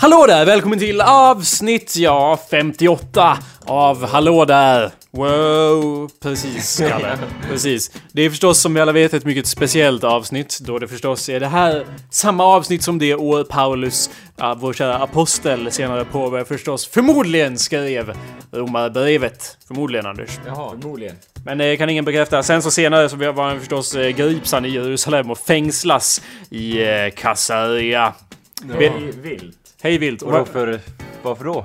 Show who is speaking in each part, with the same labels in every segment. Speaker 1: Hallå där! Välkommen till avsnitt, ja, 58 av Hallå där! Wow, precis, Kalle. Precis. Det är förstås, som vi alla vet, ett mycket speciellt avsnitt, då det förstås är det här samma avsnitt som det år Paulus, ja, vår kära apostel, senare påbörjade förstås, förmodligen skrev Romarbrevet. Förmodligen, Anders.
Speaker 2: Jaha. Förmodligen.
Speaker 1: Men det kan ingen bekräfta. Sen så senare så var han förstås eh, grips han i Jerusalem och fängslas i eh, Kasaria. Vill-
Speaker 2: vilt.
Speaker 1: Hej vilt! Och
Speaker 3: Vadå för... Varför då?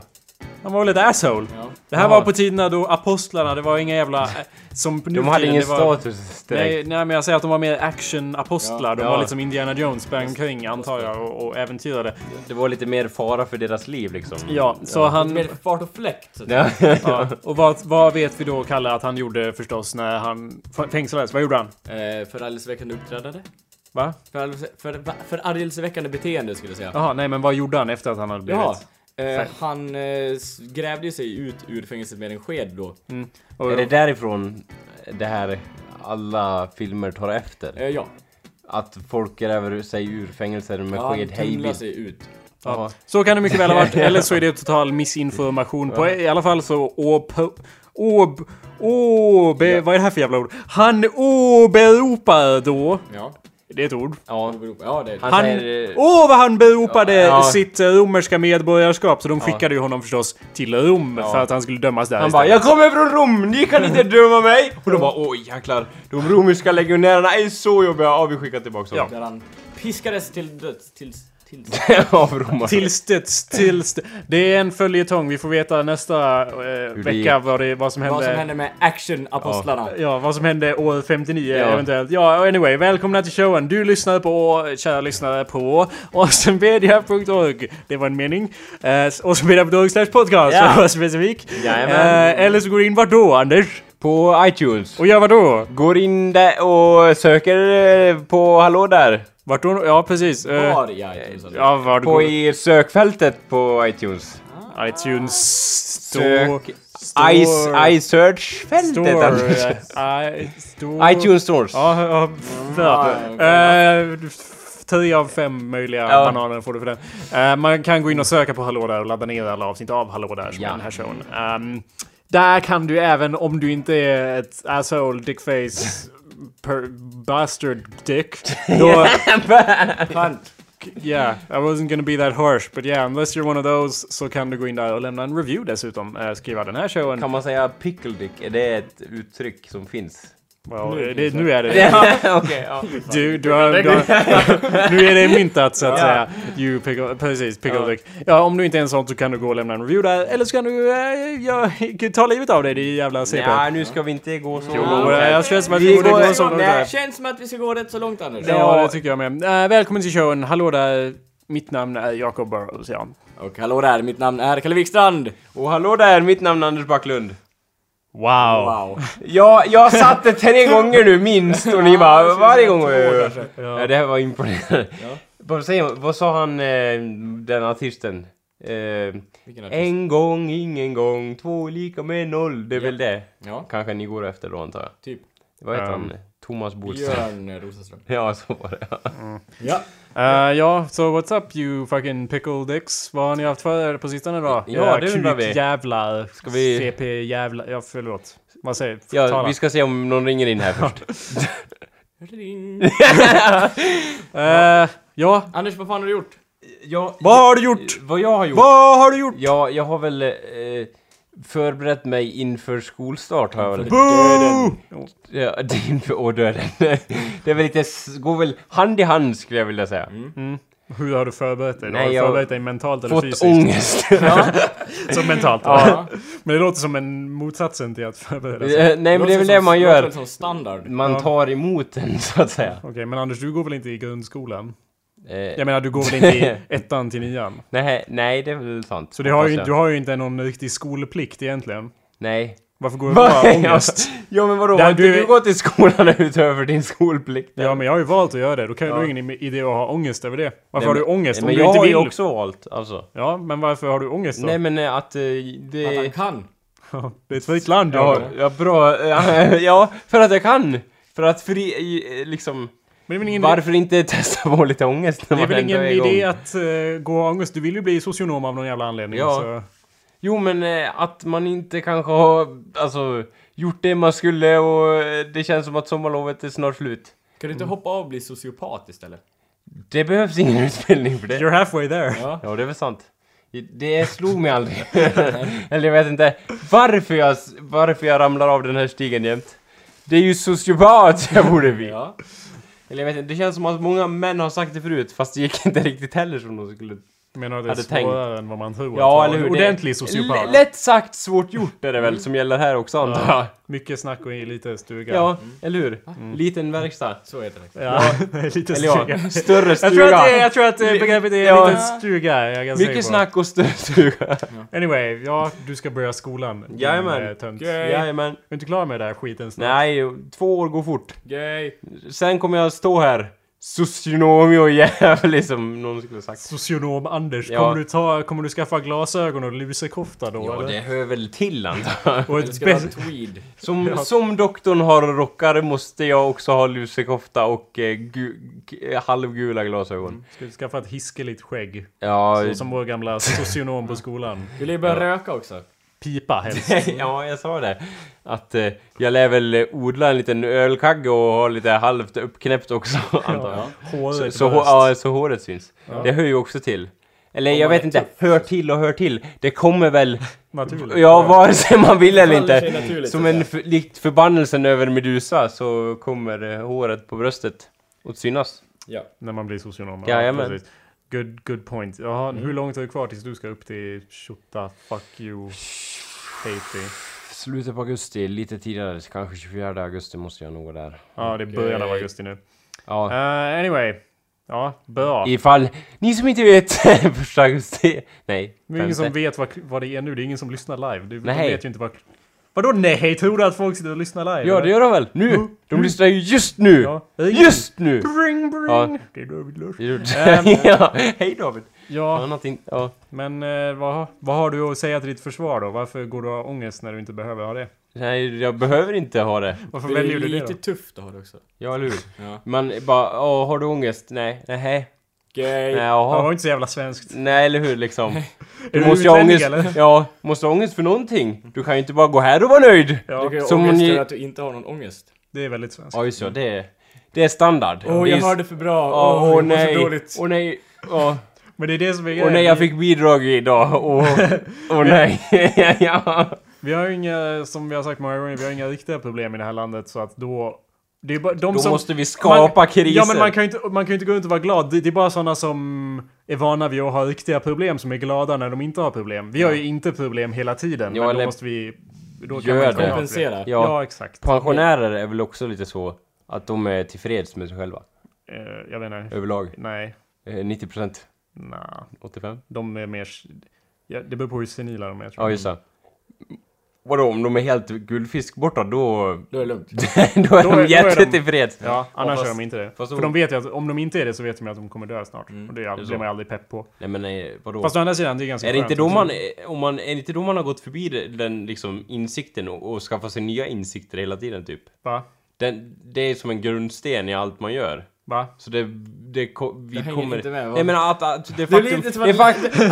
Speaker 1: Han var väl ett asshole.
Speaker 2: Ja.
Speaker 1: Det här
Speaker 3: Ja.
Speaker 1: var på tiderna då apostlarna, det var inga jävla... eh, Som på nu
Speaker 3: De hade
Speaker 1: tiden,
Speaker 3: ingen
Speaker 1: det var,
Speaker 3: status
Speaker 1: Nej,
Speaker 3: direkt.
Speaker 1: nej, men jag säger att de var mer action-apostlar.
Speaker 2: Ja.
Speaker 1: de
Speaker 3: Ja.
Speaker 1: var lite som Indiana Jones, sprang omkring antar jag och, och äventyrade.
Speaker 3: Det var lite mer fara för deras liv liksom.
Speaker 1: Ja, så han...
Speaker 2: Mer fart och fläkt. så att-
Speaker 3: Ja.
Speaker 1: Ja, och vad, vad vet vi då, Kalle, att han gjorde förstås när han f- fängslades? Vad gjorde han?
Speaker 2: Eh, förargelseväckande uppträdande.
Speaker 1: Va?
Speaker 2: Förargelse- För, va- förargelseväckande beteende skulle jag säga.
Speaker 1: Jaha, nej men vad gjorde han efter att han hade blivit...
Speaker 2: Jaha. Eh, han eh, s- grävde ju sig ut ur fängelset med en sked då.
Speaker 1: Och,
Speaker 3: Är det därifrån det här alla filmer tar efter?
Speaker 2: Eh, ja.
Speaker 3: Att folk gräver sig ur fängelser med
Speaker 2: ja, han
Speaker 3: sked
Speaker 2: tumlade
Speaker 3: hejvilt.
Speaker 2: sig ut.
Speaker 1: Ja.
Speaker 3: Ja.
Speaker 1: Så kan det mycket väl ha varit, eller så är det total missinformation. På, I alla fall så åp... Åb... Åbe... Vad är det här för jävla ord? Han åberopar då...
Speaker 2: Ja.
Speaker 1: Det är ett ord.
Speaker 3: Ja.
Speaker 2: Åberopa- Ja, Alltså, det
Speaker 3: Han
Speaker 1: Han...
Speaker 3: säger... eh,
Speaker 1: Åh, vad han beropade
Speaker 3: Ja.
Speaker 1: sitt eh, romerska medborgarskap! Så de skickade ju honom förstås till Rom för att han skulle dömas där
Speaker 3: Han bara
Speaker 1: istället.
Speaker 3: “Jag kommer från Rom, ni kan inte döma mig!” Och de bara “Åh jäklar, de romerska legionärerna är så jobbiga, ja vi skickar tillbaka dem”
Speaker 2: Där han piskades till döds. Tills... Tills...
Speaker 3: av romarna.
Speaker 1: Tills det, tills det. Det är en följetong, vi får veta nästa eh,
Speaker 3: det
Speaker 1: vecka vad, det, vad som hände.
Speaker 2: Vad som hände med action-apostlarna.
Speaker 1: Ja, vad som hände år 59
Speaker 3: Ja.
Speaker 1: eventuellt. Ja, anyway, välkomna till showen. Du lyssnar på, kära lyssnare, på awesomepedia.org. Det var en mening. Uh, awesomepedia.org slash podcast, för
Speaker 3: Ja.
Speaker 1: att vara specifik.
Speaker 3: Jajamän.
Speaker 1: Eh, eller så går du in vart då, Anders?
Speaker 3: På iTunes.
Speaker 1: Och gör vad då?
Speaker 3: Går in där och söker eh, på “Hallå där”
Speaker 1: Vart då? Ja, precis. Eh,
Speaker 2: Var jag i
Speaker 1: ja, var du
Speaker 3: På
Speaker 1: går.
Speaker 3: i sökfältet på iTunes.
Speaker 1: iTunes. Store.
Speaker 3: Sök
Speaker 1: Store.
Speaker 3: I- I-search-fältet.
Speaker 1: Store.
Speaker 3: Anders.
Speaker 1: eh, I- store.
Speaker 3: iTunes stores.
Speaker 1: Ja, ja, ja. Eh, Tio av fem möjliga
Speaker 3: Ja.
Speaker 1: bananer får du för den. Eh, man kan gå in och söka på Hallå där och ladda ner alla avsnitt av Hallå där som
Speaker 3: Ja.
Speaker 1: är den här showen. Ehm, där kan du även om du inte är ett asshole dickface per bastard dick. Då, yeah, I wasn't gonna be that harsh but yeah, unless you're one of those så kan du gå in där och lämna en review dessutom. Eh, skriva den här showen.
Speaker 3: Kan man säga pickle dick? Är det ett uttryck som finns?
Speaker 1: Well, eh, det, nu är det det.
Speaker 3: Okej, ja.
Speaker 1: Du, du har, du har, nu är det myntat så att säga. You pickle, precis, pickle dick. Ja, om du inte är en sån så kan du gå och lämna en review där. Eller så kan du eh, ja, ta livet av dig, det är jävla CP.
Speaker 3: Nej, nu ska vi inte gå så
Speaker 1: Jo,
Speaker 3: långt.
Speaker 1: eh, jag känner som att
Speaker 3: Vi
Speaker 1: vi borde
Speaker 3: går-
Speaker 1: gå så långt där.
Speaker 3: nej.
Speaker 2: Känns som att vi ska gå rätt så långt Anders.
Speaker 1: Ja, det tycker jag med. Eh, välkommen till showen. Hallå där. Mitt namn är Jacob Burrows, ja.
Speaker 2: Och hallå där, mitt namn är Kalle Wikstrand.
Speaker 3: Och hallå där, mitt namn är Anders Backlund.
Speaker 1: Wow.
Speaker 2: Wow.
Speaker 3: Ja, jag satt det tre gånger nu minst och ni bara varje gång. Ja, det här var imponerande. Vad, säger, man- vad sa han, eh, den artisten? Eh,
Speaker 2: Vilken artist?
Speaker 3: en gång, ingen gång, två är lika med noll. Det är väl det?
Speaker 2: Ja,
Speaker 3: Kanske ni går efter då antar jag.
Speaker 2: typ.
Speaker 3: Vad heter
Speaker 1: Ehm.
Speaker 3: han? Thomas Bodström.
Speaker 2: Björn Rosenström.
Speaker 3: Ja, så var det.
Speaker 2: Ja.
Speaker 1: Eh, ja, so what's up you fucking pickle dicks? Vad har ni haft för er på sistone då? Eh,
Speaker 3: Ja, det undrar vi.
Speaker 1: Jävlar. Ska
Speaker 3: vi-
Speaker 1: CP jävlar. Ja, förlåt. Vad säger
Speaker 3: Ja,
Speaker 1: Tala.
Speaker 3: vi ska se om någon ringer in här först.
Speaker 2: Ring.
Speaker 1: Eh, ja.
Speaker 2: Anders, vad fan har du gjort?
Speaker 3: Jag,
Speaker 1: Vad har du gjort?
Speaker 3: vad jag har gjort?
Speaker 1: Vad har du gjort?
Speaker 3: Ja, jag har väl eh, förberett mig inför skolstart har jag väl.
Speaker 1: Boo!
Speaker 3: Ja, det är inför och döden. Det är väl lite, s- går väl hand i hand skulle jag vilja säga.
Speaker 1: Hur har du förberett dig?
Speaker 3: Nej,
Speaker 1: har du
Speaker 3: jag-
Speaker 1: förberett dig mentalt eller
Speaker 3: Fått
Speaker 1: fysiskt?
Speaker 3: ångest.
Speaker 1: Som mentalt.
Speaker 2: Ja.
Speaker 1: Men det låter som en motsatsen till att förbereda sig.
Speaker 3: Eh, Nej men det är väl det man
Speaker 2: Det
Speaker 3: gör.
Speaker 2: som standard.
Speaker 1: Ja.
Speaker 3: Man tar emot den så att säga.
Speaker 1: Okej, men Anders, du går väl inte i grundskolan?
Speaker 3: Eh,
Speaker 1: Jag menar, du går väl inte i ettan till nian?
Speaker 3: nej, nej, det är väl sant.
Speaker 1: Så det har ju,
Speaker 3: hoppas
Speaker 1: du
Speaker 3: jag.
Speaker 1: har ju inte någon riktig skolplikt egentligen.
Speaker 3: Nej.
Speaker 1: Varför går du bara ångest?
Speaker 3: ja men vadå,
Speaker 1: Där
Speaker 3: har inte
Speaker 1: du-
Speaker 3: du gått i skolan utöver din skolplikt?
Speaker 1: Ja, men jag har ju valt att göra det. Då kan ju
Speaker 3: Ja.
Speaker 1: du ingen idé att ha ångest över det.
Speaker 3: Nej,
Speaker 1: Varför har du
Speaker 3: men-
Speaker 1: ångest?
Speaker 3: nej,
Speaker 1: Om
Speaker 3: Men
Speaker 1: du
Speaker 3: jag
Speaker 1: inte
Speaker 3: har ju
Speaker 1: vill...
Speaker 3: också valt alltså.
Speaker 1: Ja, men varför har du ångest då?
Speaker 3: Nej men eh, att eh,
Speaker 2: Att
Speaker 3: det...
Speaker 2: han kan.
Speaker 1: Det är ett fritt land.
Speaker 3: Ja,
Speaker 1: Jakob.
Speaker 3: ja bra. Ja, för att jag kan. För att fri... eh, Liksom...
Speaker 1: Men det är väl ingen,
Speaker 3: Varför inte testa på lite ångest när
Speaker 1: det är
Speaker 3: man
Speaker 1: väl
Speaker 3: ändå
Speaker 1: ingen
Speaker 3: är igång?
Speaker 1: idé att eh, gå ångest? Du vill ju bli socionom av någon jävla anledning.
Speaker 3: Ja.
Speaker 1: Så.
Speaker 3: Jo, men eh, att man inte kanske har alltså, gjort det man skulle och eh, det känns som att sommarlovet är snart slut.
Speaker 2: Kan du inte hoppa av och bli sociopat istället?
Speaker 3: Det behövs ingen utbildning för det.
Speaker 1: You're halfway there.
Speaker 2: Ja.
Speaker 3: Ja, det är väl sant. Det slog mig aldrig. Eller jag vet inte varför jag, varför jag ramlar av den här stigen jämt. Det är ju sociopat jag borde bli.
Speaker 2: Ja.
Speaker 3: Eller jag vet inte, det känns som att många män har sagt det förut fast det gick inte riktigt heller som de skulle
Speaker 1: Menar du att det
Speaker 3: Hade
Speaker 1: är svårare än vad man tror? att
Speaker 3: Ja,
Speaker 1: vara
Speaker 3: eller hur?
Speaker 1: en
Speaker 3: Det-
Speaker 1: Ordentlig sociopat.
Speaker 3: L- lätt sagt, svårt gjort är det väl som gäller här också antar jag.
Speaker 1: Ja, mycket snack och lite stuga.
Speaker 3: Ja, Mm. eller hur? Liten verkstad.
Speaker 2: Så heter det.
Speaker 1: Ja, lite
Speaker 3: Eller ja,
Speaker 1: stuga.
Speaker 3: större
Speaker 1: Jag tror, att det,
Speaker 3: stuga.
Speaker 1: jag tror att eh, begreppet är
Speaker 3: Ja.
Speaker 1: en liten stuga. är Jag ganska
Speaker 3: Mycket
Speaker 1: säker på.
Speaker 3: snack och större stuga.
Speaker 1: Anyway, ja, du ska börja skolan. din,
Speaker 3: Jajamän.
Speaker 1: eh, tönt. Du är
Speaker 3: Jajamän.
Speaker 1: inte klar med den där skiten snart.
Speaker 3: Nej, två år går fort.
Speaker 2: Gay!
Speaker 3: Sen kommer jag stå här. Socionom och jävlig som någon skulle ha sagt.
Speaker 1: Socionom Anders,
Speaker 3: Ja.
Speaker 1: kommer, du ta, kommer du skaffa glasögon och lusekofta då eller?
Speaker 3: hör väl till antar
Speaker 1: Och
Speaker 2: Eller
Speaker 1: ett
Speaker 2: ska du ha
Speaker 1: bäst...
Speaker 2: tweed?
Speaker 3: Som, som doktorn har rockar måste jag också ha lusekofta och eh, gu, g- halvgula glasögon.
Speaker 1: Ska du skaffa ett hiskeligt skägg?
Speaker 3: Ja,
Speaker 1: Mm.
Speaker 3: eh,
Speaker 1: Så som vår gamla socionom på skolan.
Speaker 2: Vill du börja röka också?
Speaker 1: Pipa helst.
Speaker 3: ja, jag sa det. Att eh, jag lär väl eh, odla en liten ölkagge och ha lite halvt uppknäppt också, antar jag. Så,
Speaker 1: Håret
Speaker 3: så, hå-
Speaker 1: löst.
Speaker 3: ja, så håret syns. Det hör ju också till. Eller jag
Speaker 2: man
Speaker 3: vet
Speaker 2: är
Speaker 3: inte, hör till och hör till. Det kommer väl,
Speaker 1: typ. Naturligt.
Speaker 3: ja vare sig man vill eller
Speaker 2: faller sig
Speaker 3: inte.
Speaker 2: naturligt,
Speaker 3: Som
Speaker 2: så att
Speaker 3: en för, likt förbannelsen över Medusa så kommer eh, håret på bröstet att synas.
Speaker 2: Ja.
Speaker 1: När man blir socionom.
Speaker 3: Jajamän. Mm.
Speaker 1: precis. Good, good point. Jaha, hur långt är det kvar tills du ska upp till Shota, fuck you, Haiti?
Speaker 3: Slutet på augusti, lite tidigare, kanske 24 augusti måste jag nog vara där.
Speaker 1: Ja, det är början av
Speaker 2: Okej.
Speaker 1: augusti nu.
Speaker 3: Ja,
Speaker 1: Eh, anyway. Ja, bra.
Speaker 3: ifall ni som inte vet, första augusti, nej,
Speaker 1: Det är ingen som
Speaker 3: femte.
Speaker 1: vet vad, vad det är nu. Det är ingen som lyssnar live. Du, de
Speaker 3: Nej.
Speaker 1: vet ju inte vad... Vadå nej? Tror du att folk sitter och lyssnar live?
Speaker 3: Ja,
Speaker 1: eller? Mm.
Speaker 3: det gör de väl? Nu! De lyssnar ju just nu!
Speaker 1: Ja.
Speaker 3: Just nu!
Speaker 1: Bring, bring!
Speaker 3: Ja.
Speaker 1: Det är David Lars.
Speaker 3: ja. Hej David!
Speaker 1: Ja,
Speaker 3: Annat in- ja.
Speaker 1: men eh, vad, vad har du att säga till ditt försvar då? Varför går du och har ångest när du inte behöver ha det?
Speaker 3: Nej, jag behöver inte ha det.
Speaker 1: Varför
Speaker 2: Det är
Speaker 1: väljer du det
Speaker 2: lite
Speaker 1: då?
Speaker 2: tufft att ha det också.
Speaker 3: Ja, eller hur?
Speaker 2: Ja.
Speaker 3: Man bara, ja, har du ångest? Nej, nej,
Speaker 2: Gay!
Speaker 3: nej,
Speaker 1: Det var
Speaker 3: jaha.
Speaker 1: inte så jävla svenskt.
Speaker 3: Nej, eller hur liksom? Du
Speaker 1: du
Speaker 3: måste ju ha
Speaker 1: utlänning,
Speaker 3: ångest.
Speaker 1: eller?
Speaker 3: Ja, måste ha ångest för någonting. Du kan ju inte bara gå här och vara nöjd.
Speaker 2: Du
Speaker 1: Ja,
Speaker 2: kan ju ha
Speaker 3: Som
Speaker 2: ångest
Speaker 3: ni-
Speaker 2: över att du inte har någon ångest.
Speaker 1: det är väldigt svenskt.
Speaker 3: Ja, just ja, det är, det är standard.
Speaker 2: Åh,
Speaker 3: det
Speaker 2: jag
Speaker 3: är,
Speaker 2: har det för bra!
Speaker 3: Ja,
Speaker 2: Åh,
Speaker 3: åh
Speaker 2: jag mår
Speaker 3: nej,
Speaker 2: så dåligt!
Speaker 3: åh nej, åh,
Speaker 1: Men det är det som är
Speaker 3: åh nej, jag fick bidrag idag, åh, åh nej. ja.
Speaker 1: Vi har ju inga, som vi har sagt många gånger, vi har inga riktiga problem i det här landet så att då... Det är bara, de
Speaker 3: Då
Speaker 1: som,
Speaker 3: måste vi skapa
Speaker 1: man,
Speaker 3: kriser.
Speaker 1: Ja men man kan ju inte, man kan ju inte gå runt och vara glad. Det, det är bara sådana som är vana vid att ha riktiga problem som är glada när de inte har problem. Vi har ju inte problem hela tiden.
Speaker 3: Ja,
Speaker 1: men
Speaker 3: eller-
Speaker 1: då måste vi... Då
Speaker 3: Gör
Speaker 1: kan man inte
Speaker 3: det.
Speaker 1: ha
Speaker 2: Kompensera.
Speaker 1: problem.
Speaker 3: Ja.
Speaker 1: Ja. exakt.
Speaker 3: Pensionärer är väl också lite så att de är tillfreds med sig själva
Speaker 1: Eh, jag vet inte.
Speaker 3: överlag.
Speaker 1: Nej.
Speaker 3: Eh, 90%,
Speaker 1: Nah.
Speaker 3: 85%.
Speaker 1: De är mer... Ja, det beror på hur senila de är tror
Speaker 3: Ja
Speaker 1: jag.
Speaker 3: just det. Vadå om de är helt guldfisk borta då,
Speaker 2: Då är det lugnt.
Speaker 3: då är
Speaker 1: Då är- då
Speaker 3: de
Speaker 1: är
Speaker 3: jättetillfreds.
Speaker 1: Ja, annars
Speaker 3: fast-
Speaker 1: är de inte det.
Speaker 3: fast
Speaker 1: För
Speaker 3: då-
Speaker 1: de vet ju att om de inte är det så vet de ju att de kommer dö snart. och det, är-
Speaker 3: det är
Speaker 1: blir
Speaker 3: så.
Speaker 1: man ju aldrig pepp på.
Speaker 3: Nej men eh, vadå?
Speaker 1: Fast å andra sidan, det är ganska
Speaker 3: är det inte
Speaker 1: skönt
Speaker 3: då
Speaker 1: också.
Speaker 3: man, eh, om man, är det inte då man har gått förbi det- den liksom insikten och, och skaffat sig nya insikter hela tiden typ?
Speaker 1: Va?
Speaker 3: Den, det är som en grundsten i allt man gör.
Speaker 1: Va?
Speaker 3: Så det, det, ko- vi
Speaker 2: Jag hänger
Speaker 3: kommer...
Speaker 2: inte med, va?
Speaker 3: Nej men att, att det
Speaker 2: Det
Speaker 3: faktum...
Speaker 2: blir lite som
Speaker 3: det
Speaker 2: att...
Speaker 3: faktum,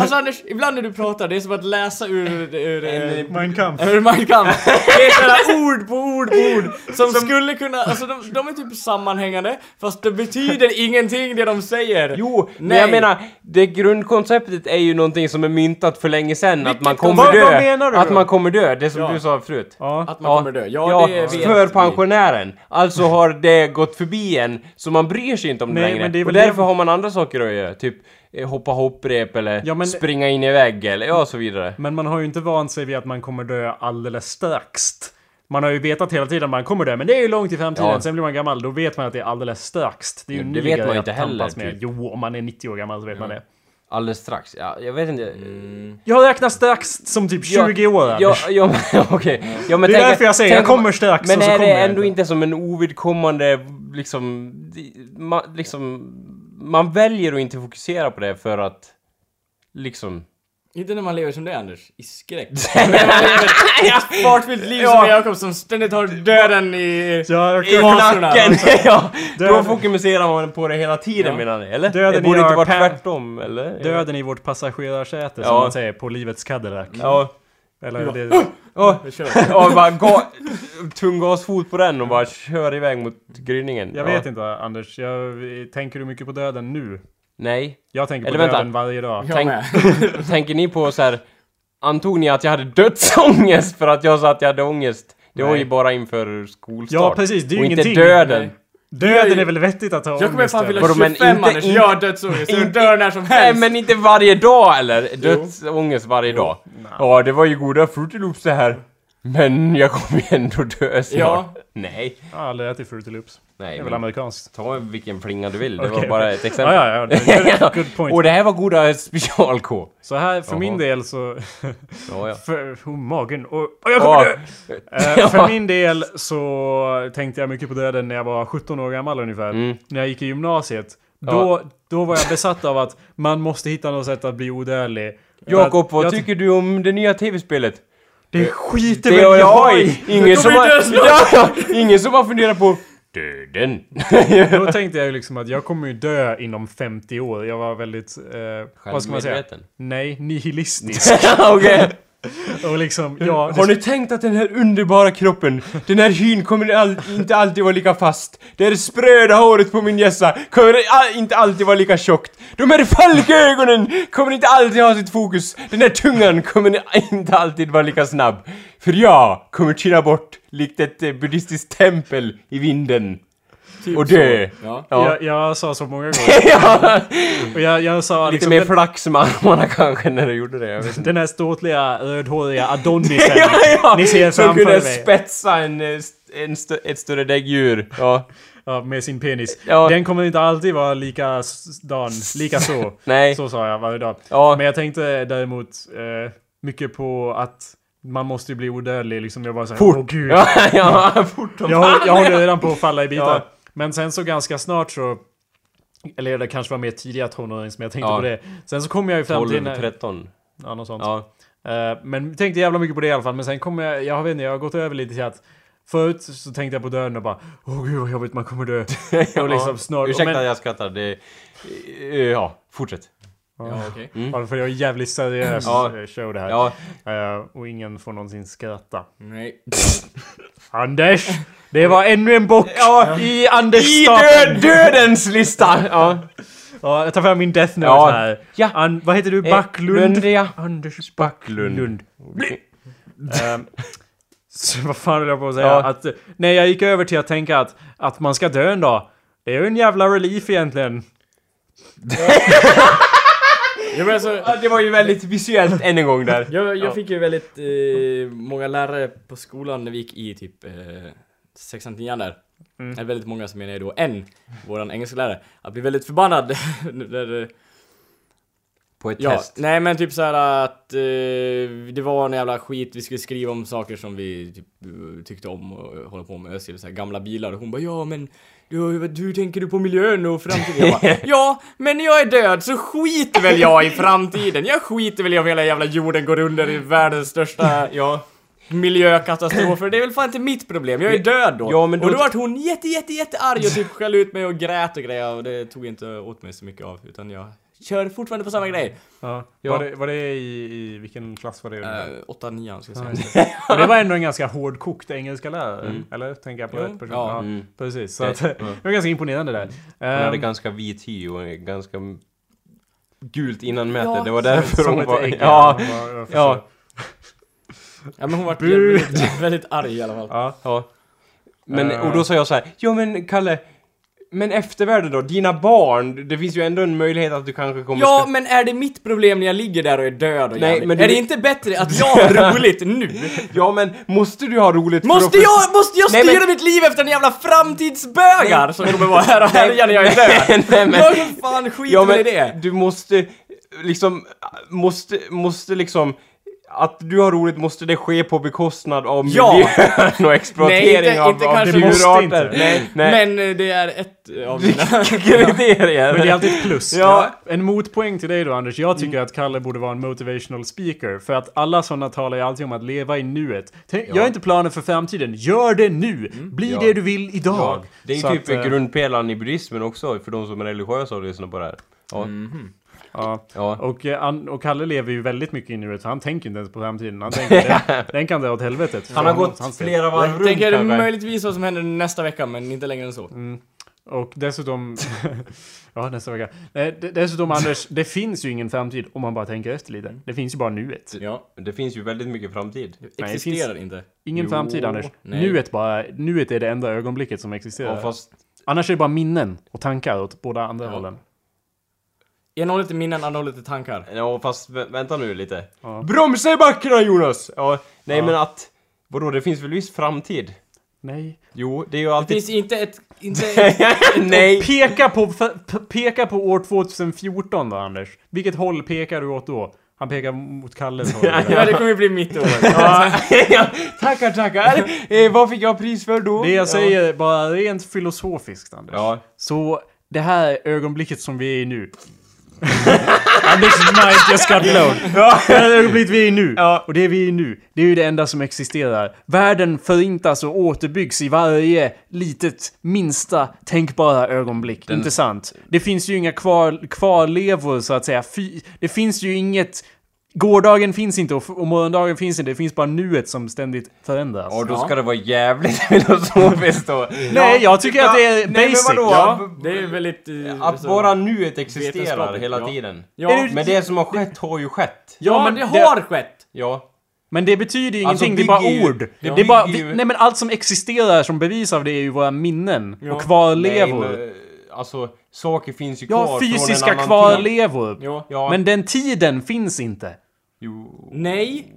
Speaker 2: Alltså Anders, ibland när du pratar, det är som att läsa ur... ur eh,
Speaker 1: Mein Kampf.
Speaker 2: Hur man kan. Det är sådana ord på ord på ord som, skulle kunna, alltså de, de är typ sammanhängande fast det betyder ingenting det de säger.
Speaker 3: Jo, men
Speaker 2: Nej.
Speaker 3: jag menar, det grundkonceptet är ju någonting som är myntat för länge sedan. Att
Speaker 1: Vilket
Speaker 3: man kommer
Speaker 1: koncept?
Speaker 3: dö.
Speaker 1: Vad- vad menar du
Speaker 3: att
Speaker 1: då?
Speaker 3: man kommer dö, det som
Speaker 2: Ja.
Speaker 3: du sa förut.
Speaker 1: Ja.
Speaker 2: Att man kommer dö. Ja,
Speaker 3: Ja,
Speaker 2: det vet
Speaker 3: för
Speaker 2: vi.
Speaker 3: pensionären. Alltså har det gått förbi en, så man bryr sig inte om det
Speaker 1: Nej,
Speaker 3: längre.
Speaker 1: men det är
Speaker 3: och
Speaker 1: väl
Speaker 3: därför
Speaker 1: det-
Speaker 3: har man andra saker att göra. Typ eh, hoppa hopprep eller
Speaker 1: Ja, men-
Speaker 3: springa in i vägg eller ja, så vidare.
Speaker 1: Men man har ju inte vant sig vid att man kommer dö alldeles strax. Man har ju vetat hela tiden att man kommer dö, men det är ju långt i framtiden.
Speaker 3: Ja.
Speaker 1: Sen blir man gammal, då vet man att det är alldeles strax. Det är ju
Speaker 3: Jo,
Speaker 1: en
Speaker 3: det
Speaker 1: ny
Speaker 3: vet
Speaker 1: grej
Speaker 3: man ju
Speaker 1: att
Speaker 3: inte heller,
Speaker 1: tampas med.
Speaker 3: typ.
Speaker 1: Jo, om man är 90 år gammal så vet man det.
Speaker 3: Alldeles strax. Ja, jag vet inte.
Speaker 1: Jag räknar strax som typ 20 Mm. år. Anders.
Speaker 3: Ja, ja, men, okej. Ja, men
Speaker 1: Det är
Speaker 3: tänk-
Speaker 1: därför jag säger,
Speaker 3: tänk
Speaker 1: jag
Speaker 3: om-
Speaker 1: kommer strax
Speaker 3: Men
Speaker 1: och så
Speaker 3: är
Speaker 1: kommer
Speaker 3: det
Speaker 1: jag
Speaker 3: ändå
Speaker 1: inte.
Speaker 3: inte som en ovidkommande, liksom, di- ma, liksom... Man väljer att inte fokusera på det för att, liksom...
Speaker 2: Inte när man lever som dig Anders, i skräck. Men när man lever ett fartfyllt liv
Speaker 3: Ja.
Speaker 2: som Jakob som ständigt har döden i...
Speaker 1: Ja,
Speaker 3: I
Speaker 2: Hasorna, alltså.
Speaker 3: nacken! ja. Då
Speaker 1: Döden.
Speaker 3: fokuserar man på det hela tiden menar ni, eller?
Speaker 1: Döden
Speaker 3: det borde
Speaker 1: i
Speaker 3: inte
Speaker 1: our
Speaker 3: vara
Speaker 1: pants.
Speaker 3: tvärtom, eller?
Speaker 1: Döden i vårt passagerarsäte som
Speaker 3: Ja.
Speaker 1: man säger på livets Cadillac.
Speaker 3: Ja. Ah!
Speaker 1: Eller det,
Speaker 3: Åh,
Speaker 2: Vi kör.
Speaker 3: Ja, bara ga- tung gasfot på den och bara kör iväg mot gryningen.
Speaker 1: jag
Speaker 3: ja.
Speaker 1: vet inte Anders, jag, tänker du mycket på döden nu?
Speaker 3: Nej.
Speaker 1: Jag tänker på
Speaker 3: Eller vänta.
Speaker 1: döden varje dag.
Speaker 2: Jag
Speaker 3: Tänk-
Speaker 2: med.
Speaker 3: Tänker ni på så här. Antog ni att jag hade dödsångest för att jag sa att jag hade ångest? Det var
Speaker 1: Nej.
Speaker 3: ju bara inför skolstart.
Speaker 1: Ja, precis, det är ju
Speaker 3: och
Speaker 1: ingenting.
Speaker 3: inte döden.
Speaker 2: Nej.
Speaker 1: Döden är väl vettigt att ha
Speaker 2: Jag kommer
Speaker 1: ångest
Speaker 2: fan
Speaker 1: över.
Speaker 2: vilja
Speaker 3: Vadå, men
Speaker 2: 25
Speaker 3: inte-
Speaker 2: Anders,
Speaker 3: inte-
Speaker 2: jag har dödsångest, jag
Speaker 3: inte-
Speaker 2: dör när som
Speaker 3: Nej
Speaker 2: helst!
Speaker 3: men inte varje dag eller? Dödsångest varje dag. Ja det var ju goda Fruity Loops det här. Men jag kommer ju ändå dö snart.
Speaker 2: Ja.
Speaker 3: Nej.
Speaker 1: Jag har aldrig ätit Fruity Loops. Det
Speaker 3: Nej
Speaker 1: är väl
Speaker 3: men
Speaker 1: amerikanskt.
Speaker 3: ta vilken flinga du vill. Det var
Speaker 1: Okej,
Speaker 3: bara
Speaker 1: okej.
Speaker 3: ett exempel.
Speaker 1: Ja, ja, ja. Good, good
Speaker 3: Och
Speaker 1: point.
Speaker 3: det här var goda special-K.
Speaker 1: Så här, för min
Speaker 3: Jaha.
Speaker 1: del så...
Speaker 3: Ja, ja.
Speaker 1: För oh, magen och... och jag kommer dö! Eh, för min del så tänkte jag mycket på döden när jag var 17 år gammal ungefär.
Speaker 3: Mm.
Speaker 1: När jag gick i gymnasiet.
Speaker 3: Ja.
Speaker 1: Då, då var jag besatt av att man måste hitta något sätt att bli odödlig. För
Speaker 3: Jakob,
Speaker 1: att
Speaker 3: vad
Speaker 1: jag-
Speaker 3: tycker du om det nya tv-spelet?
Speaker 1: Det skiter
Speaker 3: Det
Speaker 1: väl
Speaker 3: har
Speaker 1: jag i!
Speaker 3: Ingen som,
Speaker 2: blir
Speaker 3: har,
Speaker 2: det snart.
Speaker 3: ja, ja, ingen som har funderat på döden.
Speaker 1: Då tänkte jag ju liksom att jag kommer ju dö inom 50 år. Jag var väldigt... Eh, vad ska man säga?
Speaker 3: Självmedveten.
Speaker 1: Nej, nihilistisk.
Speaker 3: Okej.
Speaker 1: och liksom, ja...
Speaker 3: Har ni tänkt att den här underbara kroppen, den här hyn kommer all, inte alltid vara lika fast? Det här spröda håret på min hjässa kommer all, inte alltid vara lika tjockt. De här falkögonen kommer inte alltid ha sitt fokus. Den här tungan kommer inte alltid vara lika snabb. För jag kommer tyna bort likt ett eh, buddhistiskt tempel i vinden.
Speaker 2: Typ
Speaker 3: Och dö.
Speaker 2: så. Ja.
Speaker 1: Jag, jag sa så många gånger.
Speaker 3: Ja.
Speaker 1: Och jag, jag sa
Speaker 3: Lite
Speaker 1: liksom...
Speaker 3: mer
Speaker 1: den-
Speaker 3: flax med armarna kanske när du gjorde det, jag vet inte.
Speaker 1: Den här ståtliga rödhåriga Adonisen.
Speaker 3: Ja, ja.
Speaker 1: Ni ser
Speaker 3: Som
Speaker 1: framför
Speaker 3: kunde
Speaker 1: mig.
Speaker 3: spetsa en, eh, st- en stö- ett större däggdjur. Ja.
Speaker 1: Ja, med sin penis.
Speaker 3: Ja.
Speaker 1: Den kommer inte alltid vara lika s- dan, lika så.
Speaker 3: Nej.
Speaker 1: Så sa jag varje dag.
Speaker 3: Ja.
Speaker 1: Men jag tänkte däremot eh, mycket på att man måste ju bli odödlig liksom. Jag bara såhär,
Speaker 3: Fort.
Speaker 1: åh gud.
Speaker 3: Ja, ja, fort som
Speaker 1: Jag,
Speaker 3: fan.
Speaker 1: håller- jag håller redan på att falla i bitar.
Speaker 3: Ja.
Speaker 1: Men sen så ganska snart så... Eller det kanske var mer tidiga tonåren som jag tänkte
Speaker 3: Ja.
Speaker 1: på det. Sen så kom jag ju fram till...
Speaker 3: 12, 13.
Speaker 1: Ja, något sånt.
Speaker 3: Ja.
Speaker 1: Eh, men tänkte jävla mycket på det i alla fall. Men sen kommer jag, jag vet inte, jag har gått över lite till att Förut så tänkte jag på döden och bara Åh gud vad jobbigt, man kommer dö. Och liksom snart...
Speaker 3: Ursäkta
Speaker 1: men,
Speaker 3: jag skrattar. Det... eh, Ja, fortsätt.
Speaker 1: ja, mm.
Speaker 2: okej.
Speaker 1: ja, för jag är jävligt seriös
Speaker 3: Mm. Ja.
Speaker 1: eh, show det här.
Speaker 3: Ja,
Speaker 1: Eh, och ingen får någonsin skratta.
Speaker 2: Mm. Nej.
Speaker 1: Anders! Det var ännu en bock
Speaker 3: Ja.
Speaker 1: i Anders
Speaker 3: I
Speaker 1: stapeln.
Speaker 3: död, dödens lista! Ja.
Speaker 1: Ja, jag tar fram min death note
Speaker 3: Ja.
Speaker 1: här.
Speaker 3: Ja.
Speaker 1: An, vad heter du?
Speaker 3: Eh,
Speaker 1: Backlund?
Speaker 3: Lund, ja.
Speaker 1: Anders
Speaker 3: Backlund.
Speaker 1: Lund. Ehm, så vad fan höll jag på att säga?
Speaker 3: Ja.
Speaker 1: Att, eh, nej, jag gick över till att tänka att, att man ska dö en dag. Det är ju en jävla relief egentligen.
Speaker 2: Jag, men alltså,
Speaker 3: Ja, Det var ju väldigt visuellt än en gång där.
Speaker 2: jag, jag fick ju väldigt eh, många lärare på skolan när vi gick i typ eh, sexan, nian där.
Speaker 1: Mm.
Speaker 2: Det är väldigt många som menar ju då en, våran engelsklärare, att bli väldigt förbannad när,
Speaker 3: På ett
Speaker 2: Ja,
Speaker 3: test.
Speaker 2: nej men typ så här att eh, det var en jävla skit, vi skulle skriva om saker som vi typ, eh, tyckte om och eh, hålla på med, ösel, så här gamla bilar och hon bara ja men du, hur tänker du på miljön och framtiden? Jag bara, ja, men när jag är död så skiter väl jag i framtiden. Jag skiter väl i om hela jävla jorden går under i världens största
Speaker 3: Ja.
Speaker 2: miljökatastrofer. Det är väl fan inte mitt problem, jag är död då.
Speaker 3: Ja, men då-
Speaker 2: Och då vart hon jätte, jätte, jätte arg och typ skällde ut mig och grät och grejer och det tog jag inte åt mig så mycket av utan jag kör fortfarande på samma grej.
Speaker 1: Ja.
Speaker 3: Ja.
Speaker 1: Var, det, var det i, i... Vilken klass var det? ungefär?
Speaker 2: Eh, åtta, nian ska jag säga.
Speaker 1: Ja, just det. Men det var ändå en ganska hårdkokt engelska lärare. Eller? Tänker jag på
Speaker 2: Jo.
Speaker 1: rätt person?
Speaker 2: Ja.
Speaker 3: Mm.
Speaker 1: Precis. Så att,
Speaker 3: Ja.
Speaker 1: det var ganska imponerande där.
Speaker 3: Hon hade
Speaker 1: Ehm,
Speaker 3: ganska vit hy och ganska gult innan mätet.
Speaker 2: Ja.
Speaker 3: det var därför
Speaker 1: som
Speaker 3: hon
Speaker 1: ett
Speaker 3: var...
Speaker 1: ägg.
Speaker 3: Ja,
Speaker 1: Jag var- jag
Speaker 3: ja.
Speaker 2: Ja men hon var
Speaker 1: Bu!
Speaker 2: väldigt, väldigt arg i alla fall.
Speaker 1: Ja.
Speaker 3: Ja. Men,
Speaker 1: Eh.
Speaker 3: och då sa jag så här, ja men Kalle, men eftervärlden då? Dina barn, det finns ju ändå en möjlighet att du kanske kommer...
Speaker 2: Ja men är det mitt problem när jag ligger där och är död och
Speaker 3: Nej,
Speaker 2: jävlig?
Speaker 3: men du-
Speaker 2: Är det inte bättre att jag har roligt nu?
Speaker 3: ska- ja men måste du ha roligt
Speaker 2: Måste
Speaker 3: för
Speaker 2: jag, måste jag
Speaker 3: Nej,
Speaker 2: styra
Speaker 3: men-
Speaker 2: mitt liv efter en jävla framtidsbögar som kommer vara här och
Speaker 3: Nej,
Speaker 2: härja när jag är
Speaker 3: nej,
Speaker 2: död?
Speaker 3: nej, men-
Speaker 2: Jag är fan skit
Speaker 3: Ja
Speaker 2: väl i
Speaker 3: men
Speaker 2: det.
Speaker 3: du måste liksom, måste, måste liksom att du har roligt måste det ske på bekostnad av
Speaker 2: Ja!
Speaker 3: miljön och exploatering
Speaker 2: Nej, inte-
Speaker 3: av,
Speaker 2: inte
Speaker 3: av
Speaker 2: kanske
Speaker 1: måste inte.
Speaker 3: djurarter. Nej, nej.
Speaker 2: Men eh, det är ett eh, av mina...
Speaker 3: Vilka kriterier!
Speaker 1: Men det är alltid ett plus.
Speaker 3: Ja.
Speaker 1: En motpoäng till dig då Anders. Jag tycker att Kalle borde vara en motivational speaker. För att alla sådana talar ju alltid om att leva i nuet. Tänk, Gör inte planer för framtiden. Gör det nu! Bli
Speaker 3: Mm. Ja.
Speaker 1: det du vill idag.
Speaker 3: Ja, det är ju
Speaker 1: Så
Speaker 3: typ
Speaker 1: att, eh,
Speaker 3: grundpelaren i buddhismen också, för de som är religiösa och lyssnar på det här. Ja.
Speaker 1: ja.
Speaker 3: Ja.
Speaker 1: Och, eh, an- och Kalle lever ju väldigt mycket i nuet. Så han tänker inte ens på framtiden. Han tänker den, den kan dra åt helvetet.
Speaker 3: Han har gått flera varv runt
Speaker 2: Tänker
Speaker 3: kanske.
Speaker 2: möjligtvis vad som händer nästa vecka, men inte längre än så.
Speaker 3: Mm.
Speaker 1: Och dessutom... ja, nästa vecka. Eh, d- dessutom Anders, det finns ju ingen framtid om man bara tänker efter lite.
Speaker 3: Mm.
Speaker 1: Det finns ju bara nuet.
Speaker 2: Ja.
Speaker 3: Det finns ju väldigt mycket framtid.
Speaker 1: det
Speaker 2: Existerar inte.
Speaker 1: Ingen
Speaker 3: Jo,
Speaker 1: framtid Anders.
Speaker 2: nej.
Speaker 1: Nuet, bara, nuet är det enda ögonblicket som existerar.
Speaker 3: Ja, fast
Speaker 1: Annars är det bara minnen och tankar åt båda andra
Speaker 2: Ja.
Speaker 1: hållen.
Speaker 2: Ena hållet är minnen, andra hållet är tankar.
Speaker 3: Ja fast vä- vänta nu lite.
Speaker 1: Ja.
Speaker 3: Bromsa i backarna Jonas! Ja, nej
Speaker 1: Ja.
Speaker 3: men att... Vadå, det finns väl viss framtid?
Speaker 1: Nej.
Speaker 3: Jo, det är ju
Speaker 2: Det
Speaker 3: alltid...
Speaker 2: finns inte ett... Inte ett
Speaker 3: nej!
Speaker 1: Peka på, f- p- peka på år 2014 då Anders. Vilket håll pekar du åt då? Han pekar mot Kalles håll.
Speaker 2: ja, det kommer ju bli mitt år.
Speaker 3: Ja, tackar, tackar! Eh, vad fick jag pris för då?
Speaker 1: Det jag säger bara rent filosofiskt Anders.
Speaker 3: Ja.
Speaker 1: Så det här ögonblicket som vi är i nu. Anders Knight just got blown. Det här ögonblicket vi är i nu.
Speaker 3: Ja.
Speaker 1: Och det vi är i nu, det är ju det enda som existerar. Världen förintas och återbyggs i varje litet, minsta tänkbara ögonblick. Inte sant? Det finns ju inga kvar, kvarlevor så att säga. Fy, det finns ju inget... Gårdagen finns inte och, f- och morgondagen finns inte. Det finns bara nuet som ständigt förändras.
Speaker 3: Ja, då
Speaker 2: Ja.
Speaker 3: ska det vara jävligt filosofiskt då.
Speaker 1: Nej, jag tycker att det är
Speaker 3: Nej,
Speaker 1: basic.
Speaker 3: men vadå?
Speaker 2: Ja, det är väldigt...
Speaker 3: Att bara nuet existerar
Speaker 2: vetenskapligt,
Speaker 3: hela
Speaker 2: ja.
Speaker 3: tiden.
Speaker 2: Ja,
Speaker 1: Är du-
Speaker 3: Men det som har skett har ju skett.
Speaker 2: ja, men det har skett!
Speaker 3: Ja.
Speaker 1: Men det betyder ju
Speaker 3: Alltså,
Speaker 1: ingenting, det är bara
Speaker 3: bygger ju-
Speaker 1: ord.
Speaker 3: det
Speaker 1: det är bara,
Speaker 3: bygger
Speaker 1: vi,
Speaker 3: ju-
Speaker 1: nej men allt som existerar som bevis av det är ju våra minnen
Speaker 2: Ja.
Speaker 1: och kvarlevor.
Speaker 3: Nej, men, eh, alltså, saker finns ju kvar
Speaker 1: ja,
Speaker 3: från
Speaker 1: fysiska
Speaker 3: en annan tid.
Speaker 1: kvarlevor.
Speaker 2: Ja.
Speaker 3: Ja.
Speaker 1: Men den tiden finns inte.
Speaker 3: Jo.
Speaker 2: Nej.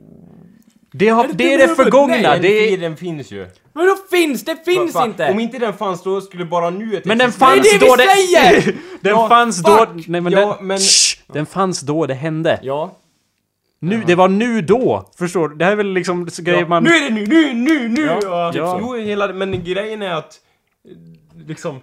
Speaker 1: Det, har, det,
Speaker 2: det
Speaker 1: är det
Speaker 2: dumt?
Speaker 1: förgångna.
Speaker 2: Nej,
Speaker 1: det är,
Speaker 3: Tiden finns ju.
Speaker 2: Men då finns? Det finns
Speaker 3: Fan,
Speaker 2: inte!
Speaker 3: Om inte den fanns då skulle bara nuet
Speaker 1: men den
Speaker 3: existera.
Speaker 1: fanns
Speaker 2: det är det
Speaker 1: då
Speaker 2: vi säger!
Speaker 1: den
Speaker 3: Ja,
Speaker 1: fanns då...
Speaker 2: fuck!
Speaker 1: Nej, men
Speaker 3: Ja,
Speaker 1: den,
Speaker 3: men-
Speaker 1: Shh, den fanns då det hände.
Speaker 2: Ja.
Speaker 1: Nu, det var nu då. Förstår du? Det här är väl liksom så grejer man...
Speaker 3: Nu är det nu, nu, nu, nu!
Speaker 2: Ja,
Speaker 3: Ja,
Speaker 1: typ så.
Speaker 3: Jo, hela, men grejen är att eh, liksom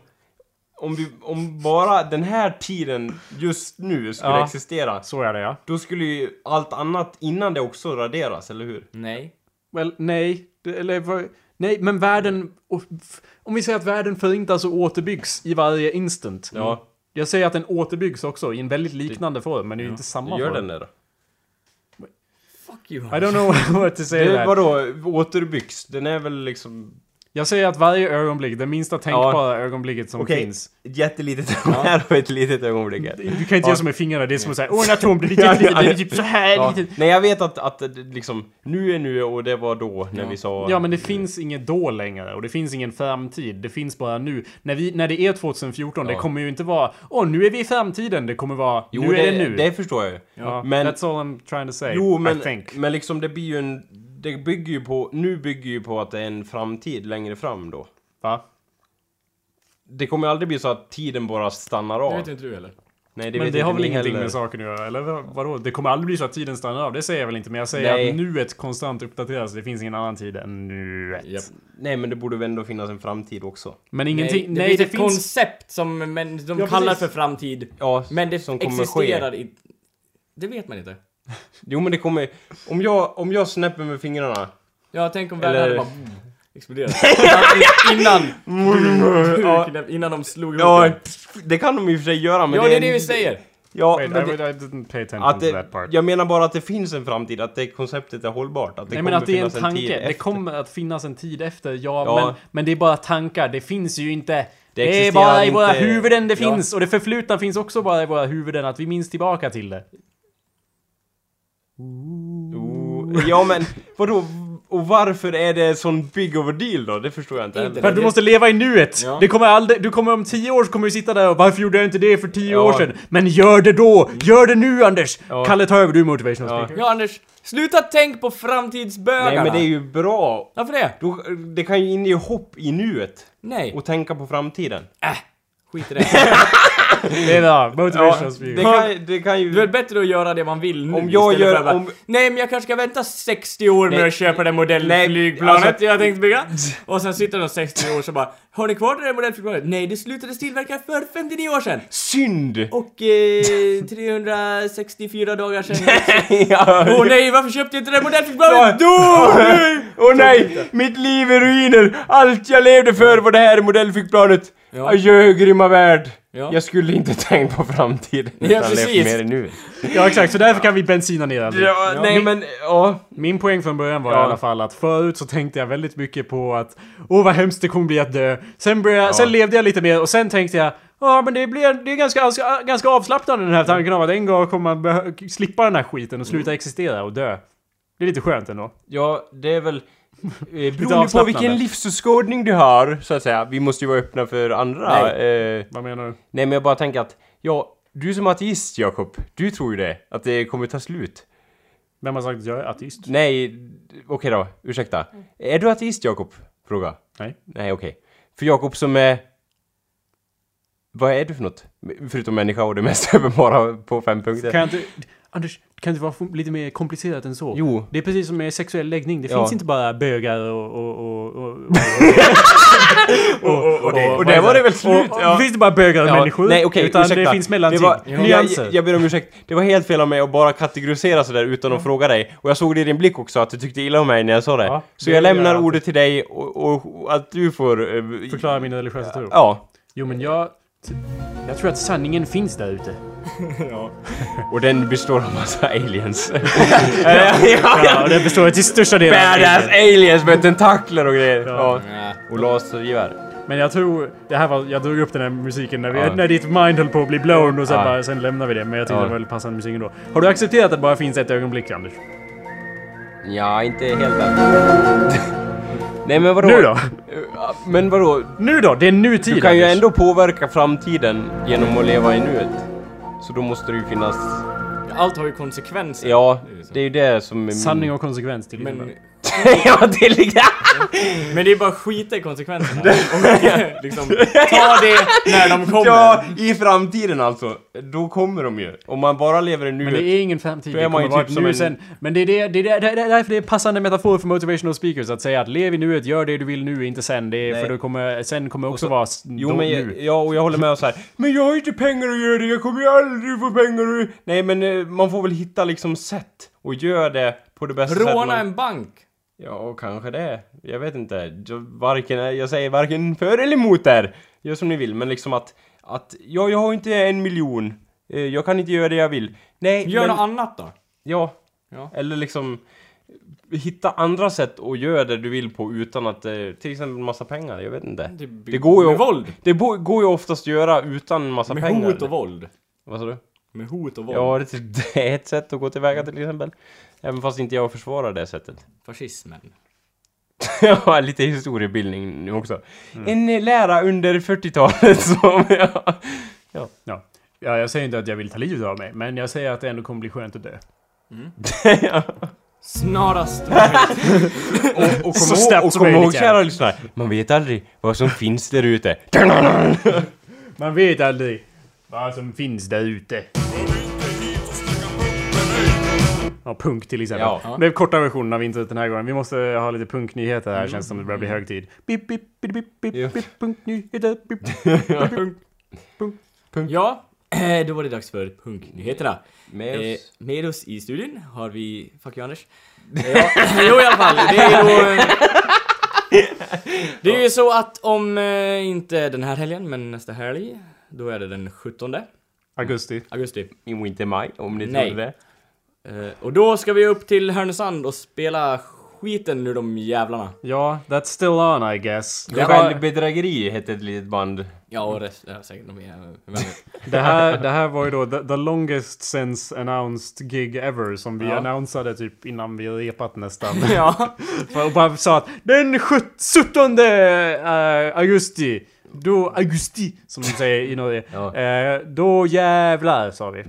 Speaker 3: om, vi, om bara den här tiden just nu skulle
Speaker 1: Ja.
Speaker 3: existera
Speaker 1: Så är det ja.
Speaker 3: då skulle ju allt annat innan det också raderas, eller hur?
Speaker 2: Nej.
Speaker 1: Well, nej. Det- Eller, vad- nej, men världen... och f- Om vi säger att världen förintas och återbyggs i varje instant.
Speaker 3: Ja.
Speaker 1: Jag säger att den återbyggs också i en väldigt liknande form, men det är ju inte samma
Speaker 3: Gör
Speaker 1: form.
Speaker 3: den det då?
Speaker 2: Fuck you.
Speaker 1: I don't know what to say
Speaker 3: Det,
Speaker 1: there.
Speaker 3: vadå, återbyggs? Den är väl liksom...
Speaker 1: Jag säger att varje ögonblick, det minsta tänkbara ögonblicket som finns.
Speaker 3: jättelitet här och ett litet ögonblick här.
Speaker 1: Du kan inte göra som med fingrarna, det är som att säga åh en atom blir lite
Speaker 3: Ja,
Speaker 1: litet,
Speaker 3: ja,
Speaker 1: det är typ så här
Speaker 3: Ja.
Speaker 1: litet.
Speaker 3: Nej, jag vet att, att eh, liksom, nu är nu och det var då när vi sa...
Speaker 1: Ja men det finns inget då längre och det finns ingen framtid. Det finns bara nu. När, vi, när det är 2014, det
Speaker 3: Ja.
Speaker 1: kommer ju inte vara åh nu är vi i framtiden. Det kommer vara
Speaker 3: jo,
Speaker 1: nu är det nu.
Speaker 3: Det förstår jag ju.
Speaker 1: ja,
Speaker 3: men-
Speaker 1: That's all I'm trying to say.
Speaker 3: Jo, men,
Speaker 1: I think.
Speaker 3: men liksom det blir ju en... Det bygger ju på... Nu bygger ju på att det är en framtid längre fram då.
Speaker 1: Va?
Speaker 3: Det kommer ju aldrig bli så att tiden bara stannar av.
Speaker 2: Det vet inte du heller.
Speaker 3: Nej, det
Speaker 1: men
Speaker 3: vet
Speaker 1: det
Speaker 3: inte
Speaker 1: har väl
Speaker 3: ni
Speaker 1: ingenting
Speaker 3: heller.
Speaker 1: med saken att göra? Eller vad- vadå? Det kommer aldrig bli så att tiden stannar av. Det säger jag väl inte. Men jag säger
Speaker 3: Nej.
Speaker 1: att nuet konstant uppdateras. Det finns ingen annan tid än nuet.
Speaker 2: Japp.
Speaker 3: Nej, men det borde väl ändå finnas en framtid också.
Speaker 1: Men ingenting... Nej,
Speaker 2: det,
Speaker 1: det,
Speaker 2: finns ett
Speaker 1: finns...
Speaker 2: koncept som men, de
Speaker 1: Ja,
Speaker 2: kallar
Speaker 1: precis.
Speaker 2: för framtid.
Speaker 3: Ja,
Speaker 2: Men det
Speaker 3: som kommer
Speaker 2: existerar
Speaker 3: ske.
Speaker 2: inte. Det vet man inte.
Speaker 3: Jo, men det kommer... Om jag, om jag snäpper med fingrarna...
Speaker 2: Ja, tänk om världen
Speaker 3: Eller-
Speaker 2: hade bara boom, exploderat. Ja, innan,
Speaker 3: Ja.
Speaker 2: innan de slog ihop
Speaker 3: Mm. Ja,
Speaker 2: den.
Speaker 3: det kan de i och för sig göra, men
Speaker 2: Ja, det är
Speaker 3: en-
Speaker 2: det vi säger.
Speaker 3: Ja,
Speaker 1: Wait,
Speaker 3: men
Speaker 1: I,
Speaker 3: det,
Speaker 1: would- I didn't pay attention
Speaker 3: att
Speaker 1: to
Speaker 3: det,
Speaker 1: that part.
Speaker 3: jag menar bara att det finns en framtid, att det konceptet är hållbart. Att det
Speaker 1: Nej
Speaker 3: kommer
Speaker 1: men att det är en
Speaker 3: finnas en tid
Speaker 1: tanke. det
Speaker 3: efter.
Speaker 1: kommer att finnas en tid efter, ja,
Speaker 3: Ja.
Speaker 1: Men, men det är bara tankar. Det finns ju inte... Det, är
Speaker 3: existerar
Speaker 1: bara i
Speaker 3: inte-
Speaker 1: våra huvuden det
Speaker 3: Ja.
Speaker 1: finns. Och det förflutna finns också bara i våra huvuden. Att vi minns tillbaka till det.
Speaker 3: Jo, Oh. Ja men vadå? Och varför är det sån big of a deal då? Det förstår jag inte
Speaker 2: Inte
Speaker 3: heller.
Speaker 1: För att du måste leva i nuet!
Speaker 2: Ja.
Speaker 1: Det kommer aldrig, du kommer om tio år så kommer du sitta där och varför gjorde jag inte det för tio
Speaker 3: Ja.
Speaker 1: år sedan? Men gör det då! Gör det nu Anders!
Speaker 3: Ja.
Speaker 1: Kalle ta över, du är motivational
Speaker 3: Ja.
Speaker 1: speaker.
Speaker 2: Ja, Anders. Sluta tänk på framtidsbögarna.
Speaker 3: Nej men det är ju bra.
Speaker 2: Varför det?
Speaker 3: Då, det kan ju inge hopp i nuet
Speaker 2: Nej.
Speaker 3: och tänka på framtiden.
Speaker 2: Skit i det.
Speaker 1: Det är bra. Motivational
Speaker 2: det,
Speaker 1: speaker.
Speaker 2: kan,
Speaker 3: Det kan
Speaker 2: det är
Speaker 3: ju...
Speaker 2: väl bättre att göra det man vill nu
Speaker 3: Om jag
Speaker 2: istället
Speaker 3: gör-
Speaker 2: för att bara,
Speaker 3: om-
Speaker 2: Nej men jag kanske ska vänta 60 år med
Speaker 3: Nej.
Speaker 2: att köpa det modellflygplanet
Speaker 3: alltså-
Speaker 2: jag tänkte bygga. Och sen sitter de 60 år så bara Har ni kvar det där modellflygplanet? Nej det slutades tillverka för 59 år sedan!
Speaker 3: Synd!
Speaker 2: Och eh, 364 dagar sedan.
Speaker 3: Ja.
Speaker 2: Åh oh, nej varför köpte jag inte det här modellflygplanet?
Speaker 3: Åh nej! Åh nej! Mitt liv är ruiner! Allt jag levde för var det här modellflygplanet!
Speaker 2: Ja.
Speaker 3: Adjö grymma värld!
Speaker 2: Ja.
Speaker 3: Jag skulle inte tänkt på framtiden.
Speaker 2: Ja,
Speaker 3: utan levt
Speaker 2: precis.
Speaker 3: Mer nu.
Speaker 1: Ja, exakt. Så därför kan vi bensina ner allting.
Speaker 3: Ja, nej
Speaker 1: Min-
Speaker 3: men, ja.
Speaker 1: Min poäng från början var i
Speaker 3: Ja.
Speaker 1: alla fall att förut så tänkte jag väldigt mycket på att Åh vad hemskt det kommer bli att dö. Sen, började, sen levde jag lite mer och sen tänkte jag Ja men det, blir, det är ganska, ganska- ganska avslappnande den här tanken av att en gång kommer man behö- slippa den här skiten och
Speaker 3: Mm.
Speaker 1: sluta existera och dö. Det är lite skönt ändå.
Speaker 3: Ja, det är väl... eh, Beroende på
Speaker 1: avslappnande.
Speaker 3: vilken livsåskådning du har, så att säga. Vi måste ju vara öppna för andra. Nej, eh,
Speaker 1: Vad menar du?
Speaker 3: nej men jag bara tänker att, ja, du som ateist, Jakob, du tror ju det. Att det kommer ta slut.
Speaker 1: Vem har sagt att jag är ateist?
Speaker 3: Nej, d- okej då, ursäkta. Är du ateist, Jakob? Fråga.
Speaker 1: Nej.
Speaker 3: Nej, okej. För Jakob som är... Vad är du för något? Förutom människa och det mest uppenbara på fem punkter.
Speaker 1: Kan jag inte... Anders, kan det vara f- lite mer komplicerat än så?
Speaker 3: Jo.
Speaker 1: Det är precis som med sexuell läggning. Det
Speaker 3: Ja.
Speaker 1: finns inte bara bögar och... och, och, och, och
Speaker 3: Och, det, och där var det väl slut?
Speaker 1: och- finns det bara bögar och
Speaker 3: Ja,
Speaker 1: människor?
Speaker 3: nej okej,
Speaker 1: utan
Speaker 3: ursäkta.
Speaker 1: det finns mellanting.
Speaker 3: Det var-
Speaker 1: Nyanser.
Speaker 3: Jag, jag ber om ursäkt. Det var helt fel av mig att bara kategorisera sådär utan att fråga dig. Och jag såg det i din blick också att du tyckte illa om mig när jag sa det.
Speaker 1: Ja,
Speaker 3: Så
Speaker 1: det
Speaker 3: jag
Speaker 1: gör jag
Speaker 3: lämnar
Speaker 1: alltid.
Speaker 3: ordet till dig och, och, och att du får... eh,
Speaker 1: Förklara min religiösa tro.
Speaker 3: Ja.
Speaker 1: Jo men jag... Jag tror att sanningen finns där ute.
Speaker 3: Och den består av massa aliens.
Speaker 1: Ja, och den består till största delen av
Speaker 3: Badass
Speaker 1: tiden.
Speaker 3: aliens med tentakler och grejer.
Speaker 1: Ja.
Speaker 3: Ja. Och lasergevär.
Speaker 1: Men jag tror... Det här var... Jag drog upp den här musiken när, vi,
Speaker 3: Ja.
Speaker 1: när ditt mind höll på att bli blown och sen,
Speaker 3: Ja.
Speaker 1: bara, sen lämnar vi det. Men jag tyckte
Speaker 3: Ja.
Speaker 1: det var väldigt passande musik ändå. Har du accepterat att det bara finns ett ögonblick, Anders?
Speaker 3: Ja, inte helt än. Nej men vadå?
Speaker 1: Nu då?
Speaker 3: Ja, Men vadå?
Speaker 1: Nu då? Det är nutid,
Speaker 3: Du kan ju
Speaker 1: Anders.
Speaker 3: ändå påverka framtiden genom att leva i nuet. Så då måste det ju finnas...
Speaker 2: Allt har ju konsekvenser.
Speaker 3: Ja, det är ju det som... är min-
Speaker 1: Sanning och konsekvens till
Speaker 2: Men,
Speaker 3: ja, det ligger...
Speaker 2: men det är bara att skita i konsekvenserna. Och liksom, ta det när de kommer.
Speaker 3: Ja, i framtiden alltså. Då kommer de ju. Om man bara lever i nuet.
Speaker 1: Men det är ingen framtid.
Speaker 3: Då
Speaker 1: Det
Speaker 3: är man ju
Speaker 1: kommer vara
Speaker 3: typ
Speaker 1: nu
Speaker 3: som en-
Speaker 1: sen. Men det är, det, det, är, det, är, det är därför det är passande metafor för motivational speakers. Att säga att lev i nuet, gör det du vill nu, inte sen. Det är
Speaker 3: Nej.
Speaker 1: för du kommer, sen kommer också vara s-
Speaker 3: Jo
Speaker 1: då,
Speaker 3: men
Speaker 1: nu.
Speaker 3: jag, ja, och jag håller med så här. Men jag har inte pengar att göra det, jag kommer ju aldrig få pengar att... Nej men eh, man får väl hitta liksom sätt och göra det på det bästa sättet
Speaker 2: Råna
Speaker 3: man...
Speaker 2: en bank.
Speaker 3: Ja, och kanske det. Jag vet inte. Jag, varken, jag säger varken för eller emot där. Gör som ni vill, men liksom att... Att ja, jag har inte en miljon. Eh, Jag kan inte göra det jag vill. Nej,
Speaker 2: Gör
Speaker 3: men...
Speaker 2: något annat då.
Speaker 3: Ja.
Speaker 2: Ja.
Speaker 3: Eller liksom... Hitta andra sätt att göra det du vill på utan att... eh, Till exempel massa pengar, jag vet inte.
Speaker 2: Det,
Speaker 3: går ju
Speaker 2: Med
Speaker 3: att-
Speaker 2: våld.
Speaker 3: Det bo- går ju oftast att göra utan massa
Speaker 2: Med
Speaker 3: pengar.
Speaker 2: hot och våld.
Speaker 3: Vad sa du?
Speaker 2: Med hot och våld.
Speaker 3: Ja, det är typ- det är ett sätt att gå tillväga till exempel. Även fast inte jag försvarar det sättet.
Speaker 2: Fascismen.
Speaker 3: Ja, lite historiebildning nu också. En eh, lärare under 40-talet som... Ja. ja.
Speaker 1: Ja. ja, jag säger inte att jag vill ta livet av mig, men jag säger att det ändå kommer bli skönt att dö.
Speaker 2: Snarast.
Speaker 3: Och, och
Speaker 1: Så
Speaker 3: kom
Speaker 1: snabbt
Speaker 3: ihåg, och
Speaker 1: som
Speaker 3: kom
Speaker 1: möjligt,
Speaker 3: ihåg
Speaker 1: ja.
Speaker 3: kära lyssnare, man vet aldrig vad som finns där ute.
Speaker 1: Man vet aldrig vad som finns där ute. Ja, punk till exempel.
Speaker 3: Ja.
Speaker 1: Det blev korta versionen av introt den här gången. Vi måste ha lite punknyheter här, känns som det börjar bli hög tid. Bip, bip, bip, bip,
Speaker 3: Ja.
Speaker 1: bip, bip, punknyheter, bip.
Speaker 2: ja, eh, då var det dags för punknyheterna.
Speaker 3: Med
Speaker 2: Eh,
Speaker 3: oss.
Speaker 2: med oss i studion har vi... Fuck you Anders. Eh, ja, jo i alla fall, det är ju då... eh, Det är ju så att om, eh, inte den här helgen, men nästa helg, då är det den 17
Speaker 1: Augusti.
Speaker 2: augusti.
Speaker 3: Jo, inte maj, om ni
Speaker 2: Nej.
Speaker 3: trodde det.
Speaker 2: Eh, och då ska vi upp till Härnösand och spela skiten ur de jävlarna.
Speaker 1: Ja, that's still on I guess. Det, var,
Speaker 3: Självbedrägeri hette ett litet band.
Speaker 2: Ja, och rest, ja, säkert de är... vem vet.
Speaker 1: det, här, det här var ju då the, the longest since announced gig ever som vi
Speaker 2: Ja.
Speaker 1: annonsade typ innan vi repat nästan.
Speaker 2: ja.
Speaker 1: Och bara sa att den sjut- 17 eh, augusti, då augusti som de säger i Norge,
Speaker 3: Ja. Mm.
Speaker 1: eh, då jävlar sa vi. Eh,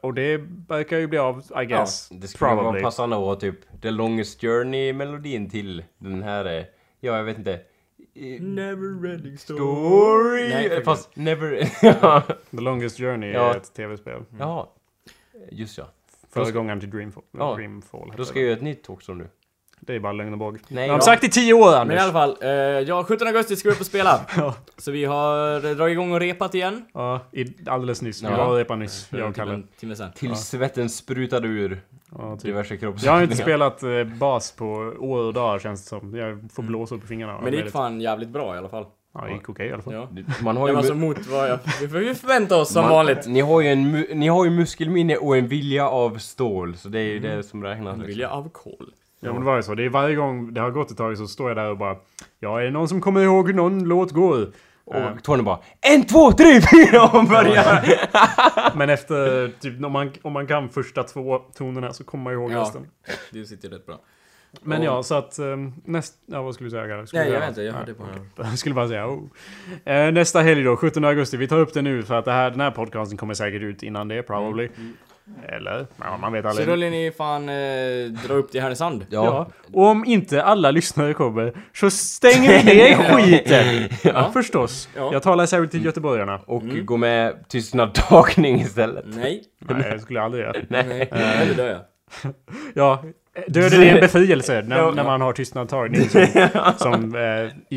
Speaker 1: och det verkar ju bli av I guess.
Speaker 3: Det skulle vara
Speaker 1: Probably.
Speaker 3: passande att ha typ The Longest Journey-melodin till den här... eh, Ja, jag vet inte. eh,
Speaker 2: Never ending story.
Speaker 3: Story!
Speaker 2: Nej,
Speaker 3: Eh,
Speaker 2: okej.
Speaker 3: Fast never... ja.
Speaker 1: The Longest Journey
Speaker 3: Ja.
Speaker 1: är ett tv-spel.
Speaker 3: Jaha. Just ja.
Speaker 1: Föregångaren till Dreamfall.
Speaker 3: Ja.
Speaker 1: Dreamfall
Speaker 3: Då
Speaker 1: heter
Speaker 3: ska
Speaker 1: det.
Speaker 3: jag göra ett nytt talkshow nu.
Speaker 1: det är bara lögn och båg.
Speaker 3: Nej,
Speaker 1: De har
Speaker 3: ja.
Speaker 1: sagt i tio år,
Speaker 2: Men i
Speaker 1: Anders.
Speaker 2: alla fall, eh, ja 17 augusti ska vi upp och spela. Så vi har dragit igång och repat igen.
Speaker 1: Ja, i, alldeles nyss. Vi
Speaker 3: Ja.
Speaker 1: var och repade nyss, jag och
Speaker 2: Typ
Speaker 1: Kalle.
Speaker 2: en timme sen.
Speaker 3: Till svetten sprutade ur
Speaker 1: Ja, typ.
Speaker 3: diverse kroppsdelar.
Speaker 1: Jag har inte spelat eh, bas på år och dagar känns det som. Jag får blåsor på fingrarna.
Speaker 2: Men det gick fan jävligt bra i alla fall.
Speaker 1: Ja, det gick okej i alla fall.
Speaker 2: Ja.
Speaker 3: Man har
Speaker 2: Jag
Speaker 3: ju...
Speaker 2: var alltså
Speaker 3: mu-
Speaker 2: mot vad jag... Vi får- vi förväntar oss som
Speaker 3: man-
Speaker 2: vanligt.
Speaker 3: Ni har ju, en, mu- ni har ju muskelminne och en vilja av stål, så det är ju
Speaker 2: Mm.
Speaker 3: det som räknas.
Speaker 2: Vill
Speaker 3: Liksom.
Speaker 2: jag av kol?
Speaker 1: Ja men det var ju så. Det är varje gång det har gått ett tag så står jag där och bara Ja, är det någon som kommer ihåg hur någon låt går? Ja.
Speaker 3: Och Eh, Tony bara En, två, tre, fyra och börjar!
Speaker 1: Men efter, typ om man, om man kan första två tonerna så kommer man ihåg
Speaker 2: Ja.
Speaker 1: resten.
Speaker 2: Det sitter ju rätt bra.
Speaker 1: Men
Speaker 2: Och-
Speaker 1: ja, så att ehm, näst... Ja, vad skulle du säga Garre? Skulle
Speaker 2: Nej
Speaker 1: du
Speaker 2: jag
Speaker 1: säga
Speaker 2: vet inte, jag
Speaker 1: något?
Speaker 2: hörde på honom.
Speaker 1: Jag skulle bara säga oh. Eh, Nästa helg då, 17 augusti. Vi tar upp det nu för att det här, den här podcasten kommer säkert ut innan det, probably.
Speaker 2: Mm,
Speaker 1: Eller? Ja, man vet
Speaker 2: Så
Speaker 1: aldrig.
Speaker 2: då vill ni fan eh, dra upp till Härnösand?
Speaker 3: Ja.
Speaker 1: Ja. Och om inte alla lyssnare kommer så stänger vi ner skiten!
Speaker 2: Ja.
Speaker 1: Förstås.
Speaker 2: Ja.
Speaker 1: Jag talar särskilt
Speaker 3: Mm.
Speaker 1: till göteborgarna.
Speaker 3: Och
Speaker 2: Mm.
Speaker 3: gå med tystnadtagning istället.
Speaker 2: Nej.
Speaker 1: Nej, jag skulle aldrig göra.
Speaker 2: Nej. Eller dör jag.
Speaker 1: Ja, döden är en befrielse när, när man har tystnadtagning som, som eh,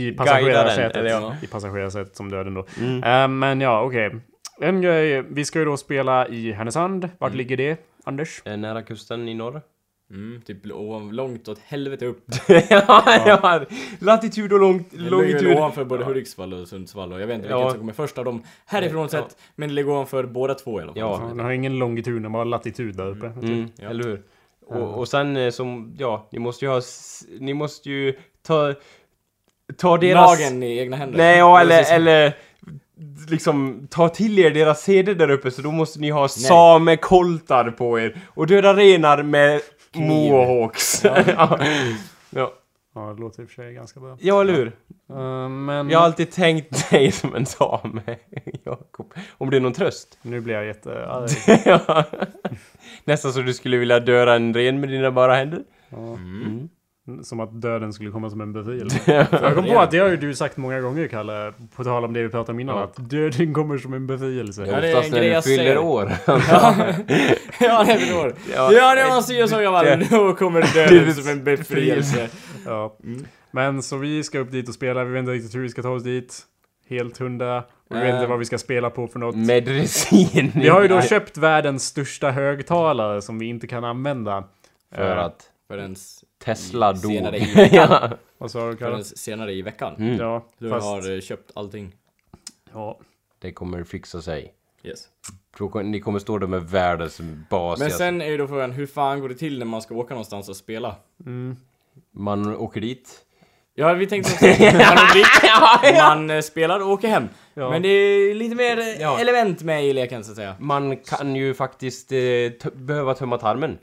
Speaker 1: i
Speaker 3: eller
Speaker 1: passagerarsätet.
Speaker 3: ja. Mm.
Speaker 1: I passagerarsätet som döden då. Eh, men ja, okej. En grej, vi ska ju då spela i Härnösand. Vart
Speaker 3: Mm.
Speaker 1: ligger det, Anders?
Speaker 3: Eh, Nära kusten i norr.
Speaker 2: Mm, typ ovan- långt åt helvete upp.
Speaker 3: ja, ja. Latitud och lång,
Speaker 2: Det ligger väl
Speaker 3: longitud.
Speaker 2: ovanför både Hudiksvall och Sundsvall och jag vet inte
Speaker 3: Ja.
Speaker 2: vilket som kommer först av dem härifrån
Speaker 3: Ja.
Speaker 2: sett. Men det ligger ovanför båda två i alla fall.
Speaker 1: Ja,
Speaker 3: Ja,
Speaker 1: den har ingen longitud, den har bara latitud där uppe.
Speaker 3: Mm,
Speaker 2: Ja.
Speaker 3: eller hur? Och, och sen eh, som, ja, ni måste ju ha, s- ni måste ju ta, ta deras...
Speaker 2: Lagen i egna händer.
Speaker 3: Nej, ja, eller,
Speaker 2: Precis.
Speaker 3: eller liksom ta till er deras seder där uppe så då måste ni ha samekoltar på er och döda renar med mohawks. Ja. ja. ja.
Speaker 1: Ja, det låter i och för sig ganska bra.
Speaker 3: eller hur?
Speaker 1: Eh, men
Speaker 3: Jag har alltid tänkt dig som en same, Jakob. Om det är någon tröst.
Speaker 1: nu blir jag jättearg.
Speaker 3: Ja. Nästan så du skulle vilja döda en ren med dina bara händer.
Speaker 1: Ja.
Speaker 3: Mm.
Speaker 1: Som att döden skulle komma som en befrielse. Jag kom på att det har ju du sagt många gånger Kalle, på tal om det vi pratade om innan,
Speaker 3: Ja.
Speaker 1: att döden kommer som en befrielse.
Speaker 2: Ja, det är en grej jag säger.
Speaker 3: år.
Speaker 2: ja, det förstår.
Speaker 3: Ja.
Speaker 2: Ja, ja det var så jag sa grabbar. Då kommer döden som en befrielse.
Speaker 1: Ja.
Speaker 2: Mm.
Speaker 1: Men så vi ska upp dit och spela, vi vet inte riktigt hur vi ska ta oss dit. Helt hundra. Vi vet inte
Speaker 2: Ehm.
Speaker 1: vad vi ska spela på för
Speaker 2: Mm.
Speaker 1: något.
Speaker 3: Medicin.
Speaker 1: Vi har ju då köpt världens största högtalare som vi inte kan använda.
Speaker 3: För
Speaker 1: Eh,
Speaker 3: att
Speaker 2: För ens,
Speaker 3: Tesla dog.
Speaker 2: Senare i
Speaker 3: ja.
Speaker 1: Vad sa du
Speaker 2: för
Speaker 1: Kalle?
Speaker 2: ens senare i veckan.
Speaker 3: Mm.
Speaker 1: Ja,
Speaker 2: Då jag
Speaker 1: fast...
Speaker 2: har eh, köpt allting.
Speaker 1: Ja.
Speaker 3: Det kommer fixa sig.
Speaker 2: Yes.
Speaker 3: Då kom- Ni kommer stå där med världens basiga...
Speaker 2: Men sen är ju då frågan, hur fan går det till när man ska åka någonstans och spela?
Speaker 3: Man åker dit.
Speaker 2: Ja, vi tänkte också man, åker dit, man eh, spelar och åker hem.
Speaker 1: Ja.
Speaker 2: Men det är lite mer eh,
Speaker 3: Ja.
Speaker 2: element med i leken så att säga.
Speaker 3: Man kan ju faktiskt eh, t- behöva tömma tarmen.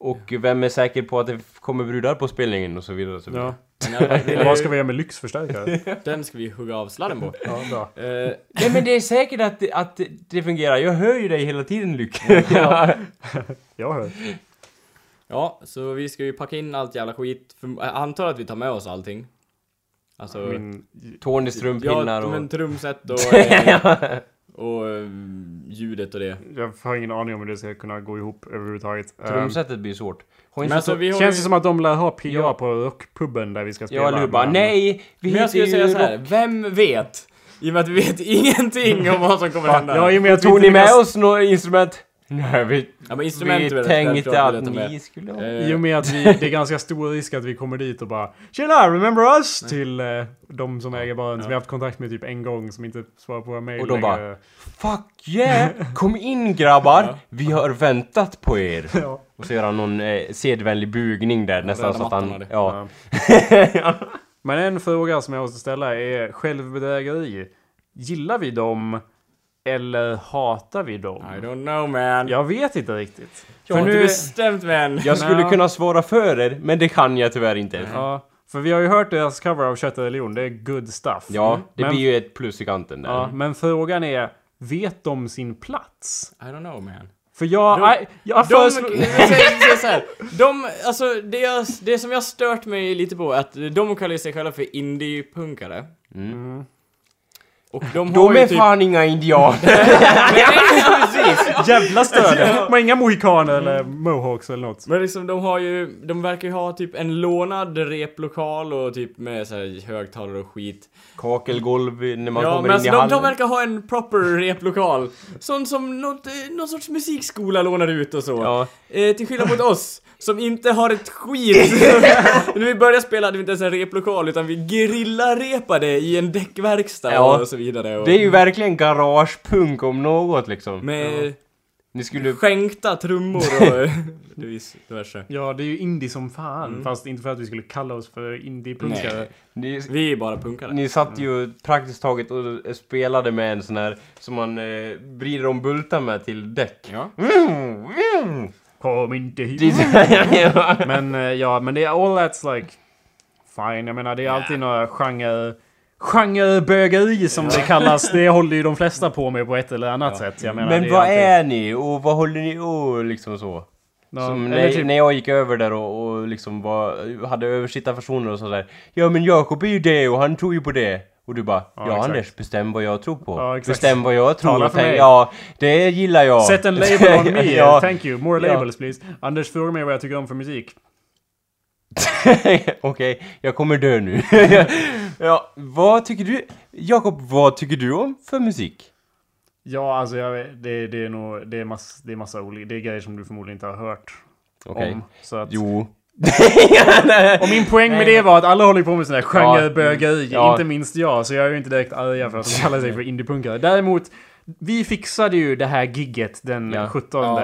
Speaker 3: Och vem är säker på att det f- kommer brudar på spelningen och så vidare och så vidare.
Speaker 1: ja.
Speaker 2: Men i alla fall, det
Speaker 1: Och vad
Speaker 2: är
Speaker 1: ska vi göra med lyxförstärkare?
Speaker 2: ju- Den ska vi hugga av sladden på.
Speaker 1: Ja, bra.
Speaker 2: Eh,
Speaker 3: Nej men det är säkert att det, att det fungerar. Jag hör ju dig hela tiden Luke. ja.
Speaker 1: Jag hör.
Speaker 2: ja, så vi ska ju packa in allt jävla skit. För, eh, jag antar att vi tar med oss allting. Alltså...
Speaker 1: Min...
Speaker 3: Tony strumpinnar
Speaker 2: ja,
Speaker 3: och...
Speaker 2: men trumset och... eh, och eh, ljudet och det.
Speaker 1: Jag har ingen aning om hur det ska kunna gå ihop överhuvudtaget. Ehm,
Speaker 3: Trumsetet blir svårt. Har
Speaker 2: Men
Speaker 3: inte
Speaker 2: alltså
Speaker 3: så...
Speaker 2: vi har
Speaker 1: Känns
Speaker 2: ju-
Speaker 1: det som att de lär ha PA
Speaker 3: Ja.
Speaker 1: på rockpubben där vi ska spela?
Speaker 3: Ja, eller hur? Bara,
Speaker 1: Men-
Speaker 3: nej! Vi
Speaker 2: Men jag skulle
Speaker 3: heter ju
Speaker 2: säga så här.
Speaker 3: Rock."
Speaker 2: vem vet? I och med att vi vet ingenting om vad som kommer hända.
Speaker 1: Ja, i och med att vi
Speaker 3: Tog
Speaker 1: inte
Speaker 3: ni med
Speaker 1: lyckas-
Speaker 3: oss några instrument? Nej, vi,
Speaker 2: Ja, men instrument
Speaker 3: vi tänkte att ni skulle
Speaker 2: Eh.
Speaker 3: ha...
Speaker 1: I och med att vi, det är ganska stor risk att vi kommer dit och bara Tjena, remember us? Till eh, de som äger baren som vi har haft kontakt med typ en gång som inte svarar på våra mejl
Speaker 3: Och de
Speaker 1: längre.
Speaker 3: Fuck yeah! Kom in grabbar! Vi har väntat på er!
Speaker 1: Ja.
Speaker 3: Och så gör han någon eh, sedvänlig bugning där nästan
Speaker 2: röda
Speaker 3: så att
Speaker 2: mattan
Speaker 3: han...
Speaker 2: hade.
Speaker 3: Ja.
Speaker 1: Men en fråga som jag måste ställa är självbedrägeri. Gillar vi dem? Eller hatar vi dem?
Speaker 2: I don't know man.
Speaker 1: Jag vet inte riktigt. För
Speaker 2: jag har inte
Speaker 1: nu-
Speaker 2: bestämt men.
Speaker 3: Jag skulle
Speaker 1: Nå.
Speaker 3: kunna svara för er, men det kan jag tyvärr inte.
Speaker 1: Ja, för vi har ju hört deras cover av Kött och religion, det är good stuff.
Speaker 3: Ja, det
Speaker 1: men,
Speaker 3: blir ju
Speaker 1: Mm.
Speaker 3: ett plus i kanten där.
Speaker 1: ja, men frågan är, vet de sin plats?
Speaker 2: I don't know man.
Speaker 1: För jag...
Speaker 2: De-
Speaker 1: nej, jag
Speaker 2: De,
Speaker 1: föreslår...
Speaker 2: jag säger- säger så här, de, alltså det, jag, det som jag stört mig lite på är att de kallar sig själva för indie-punkare. Och de har
Speaker 3: Mm. De
Speaker 2: ju
Speaker 3: är
Speaker 2: typ...
Speaker 3: fan inga indianer.
Speaker 1: Jävla stöd! De har inga mohikaner eller mohawks eller något.
Speaker 2: Men liksom de har ju, de verkar ju ha typ en lånad replokal och typ med så här högtalare och skit.
Speaker 3: Kakelgolv när man
Speaker 2: ja
Speaker 3: kommer
Speaker 2: men
Speaker 3: in
Speaker 2: alltså
Speaker 3: i
Speaker 2: de,
Speaker 3: hallen.
Speaker 2: de verkar ha en proper replokal. Sån som något, eh, någon sorts musikskola lånar ut och så.
Speaker 3: Ja.
Speaker 2: Eh, till skillnad mot oss, som inte har ett skit. När vi började spela hade vi inte ens en replokal utan vi grillarepade i en däckverkstad
Speaker 3: Ja.
Speaker 2: och så vidare. Och
Speaker 3: Det är ju verkligen garagepunk om något liksom.
Speaker 2: Med
Speaker 3: Ni skulle...
Speaker 2: skänkta trummor och vis- diverse.
Speaker 1: Ja, det är ju indie som fan. Fast inte för att vi skulle kalla oss för indie-punkare.
Speaker 3: Ni,
Speaker 2: Vi är bara punkare.
Speaker 1: Mm.
Speaker 3: ni satt ju praktiskt taget och spelade med en sån här som man eh, vrider om bultar med till däck.
Speaker 2: Ja.
Speaker 3: Mm, mm.
Speaker 1: Kom inte hit.
Speaker 3: Det är så-
Speaker 1: Men eh, ja, men det är all that's like fine. Jag menar, det är alltid några genre... Genrebögeri som det kallas. Det håller ju de flesta på med på ett eller annat sätt. Jag menar, det
Speaker 3: Men vad
Speaker 1: alltid-
Speaker 3: är ni och vad håller ni och liksom så?
Speaker 1: Ja,
Speaker 3: Som
Speaker 1: eller
Speaker 3: när,
Speaker 1: typ-
Speaker 3: när jag gick över där och, och liksom var, hade översittarfasoner och sådär. Ja men Jakob är ju det och han tror ju på det. Och du bara, ja,
Speaker 1: exakt.
Speaker 3: Anders bestäm vad jag tror på.
Speaker 1: Ja, exakt.
Speaker 3: bestäm vad jag tror
Speaker 1: Tala
Speaker 3: och
Speaker 1: för
Speaker 3: tänk,
Speaker 1: mig."
Speaker 3: ja det gillar jag.
Speaker 1: Sätt en label on me.
Speaker 3: ja.
Speaker 1: Thank you. More
Speaker 3: Ja.
Speaker 1: labels please. Anders frågar mig vad jag tycker om för musik.
Speaker 3: Okej, jag kommer dö nu. ja, vad tycker du, Jakob, vad tycker du om för musik?
Speaker 1: Ja, alltså jag, det, det är nog... Det är, mass, det är massa olika... Det är grejer som du förmodligen inte har hört
Speaker 3: Okej.
Speaker 1: om. Så att,
Speaker 3: Jo.
Speaker 1: Och min poäng med det var att alla håller på med såna här genrebögeri,
Speaker 3: Mm. Ja.
Speaker 1: inte minst jag. Så jag är ju inte direkt arga för att de kallar sig för indiepunkare. Däremot, vi fixade ju det här gigget den
Speaker 3: Ja.
Speaker 1: 17.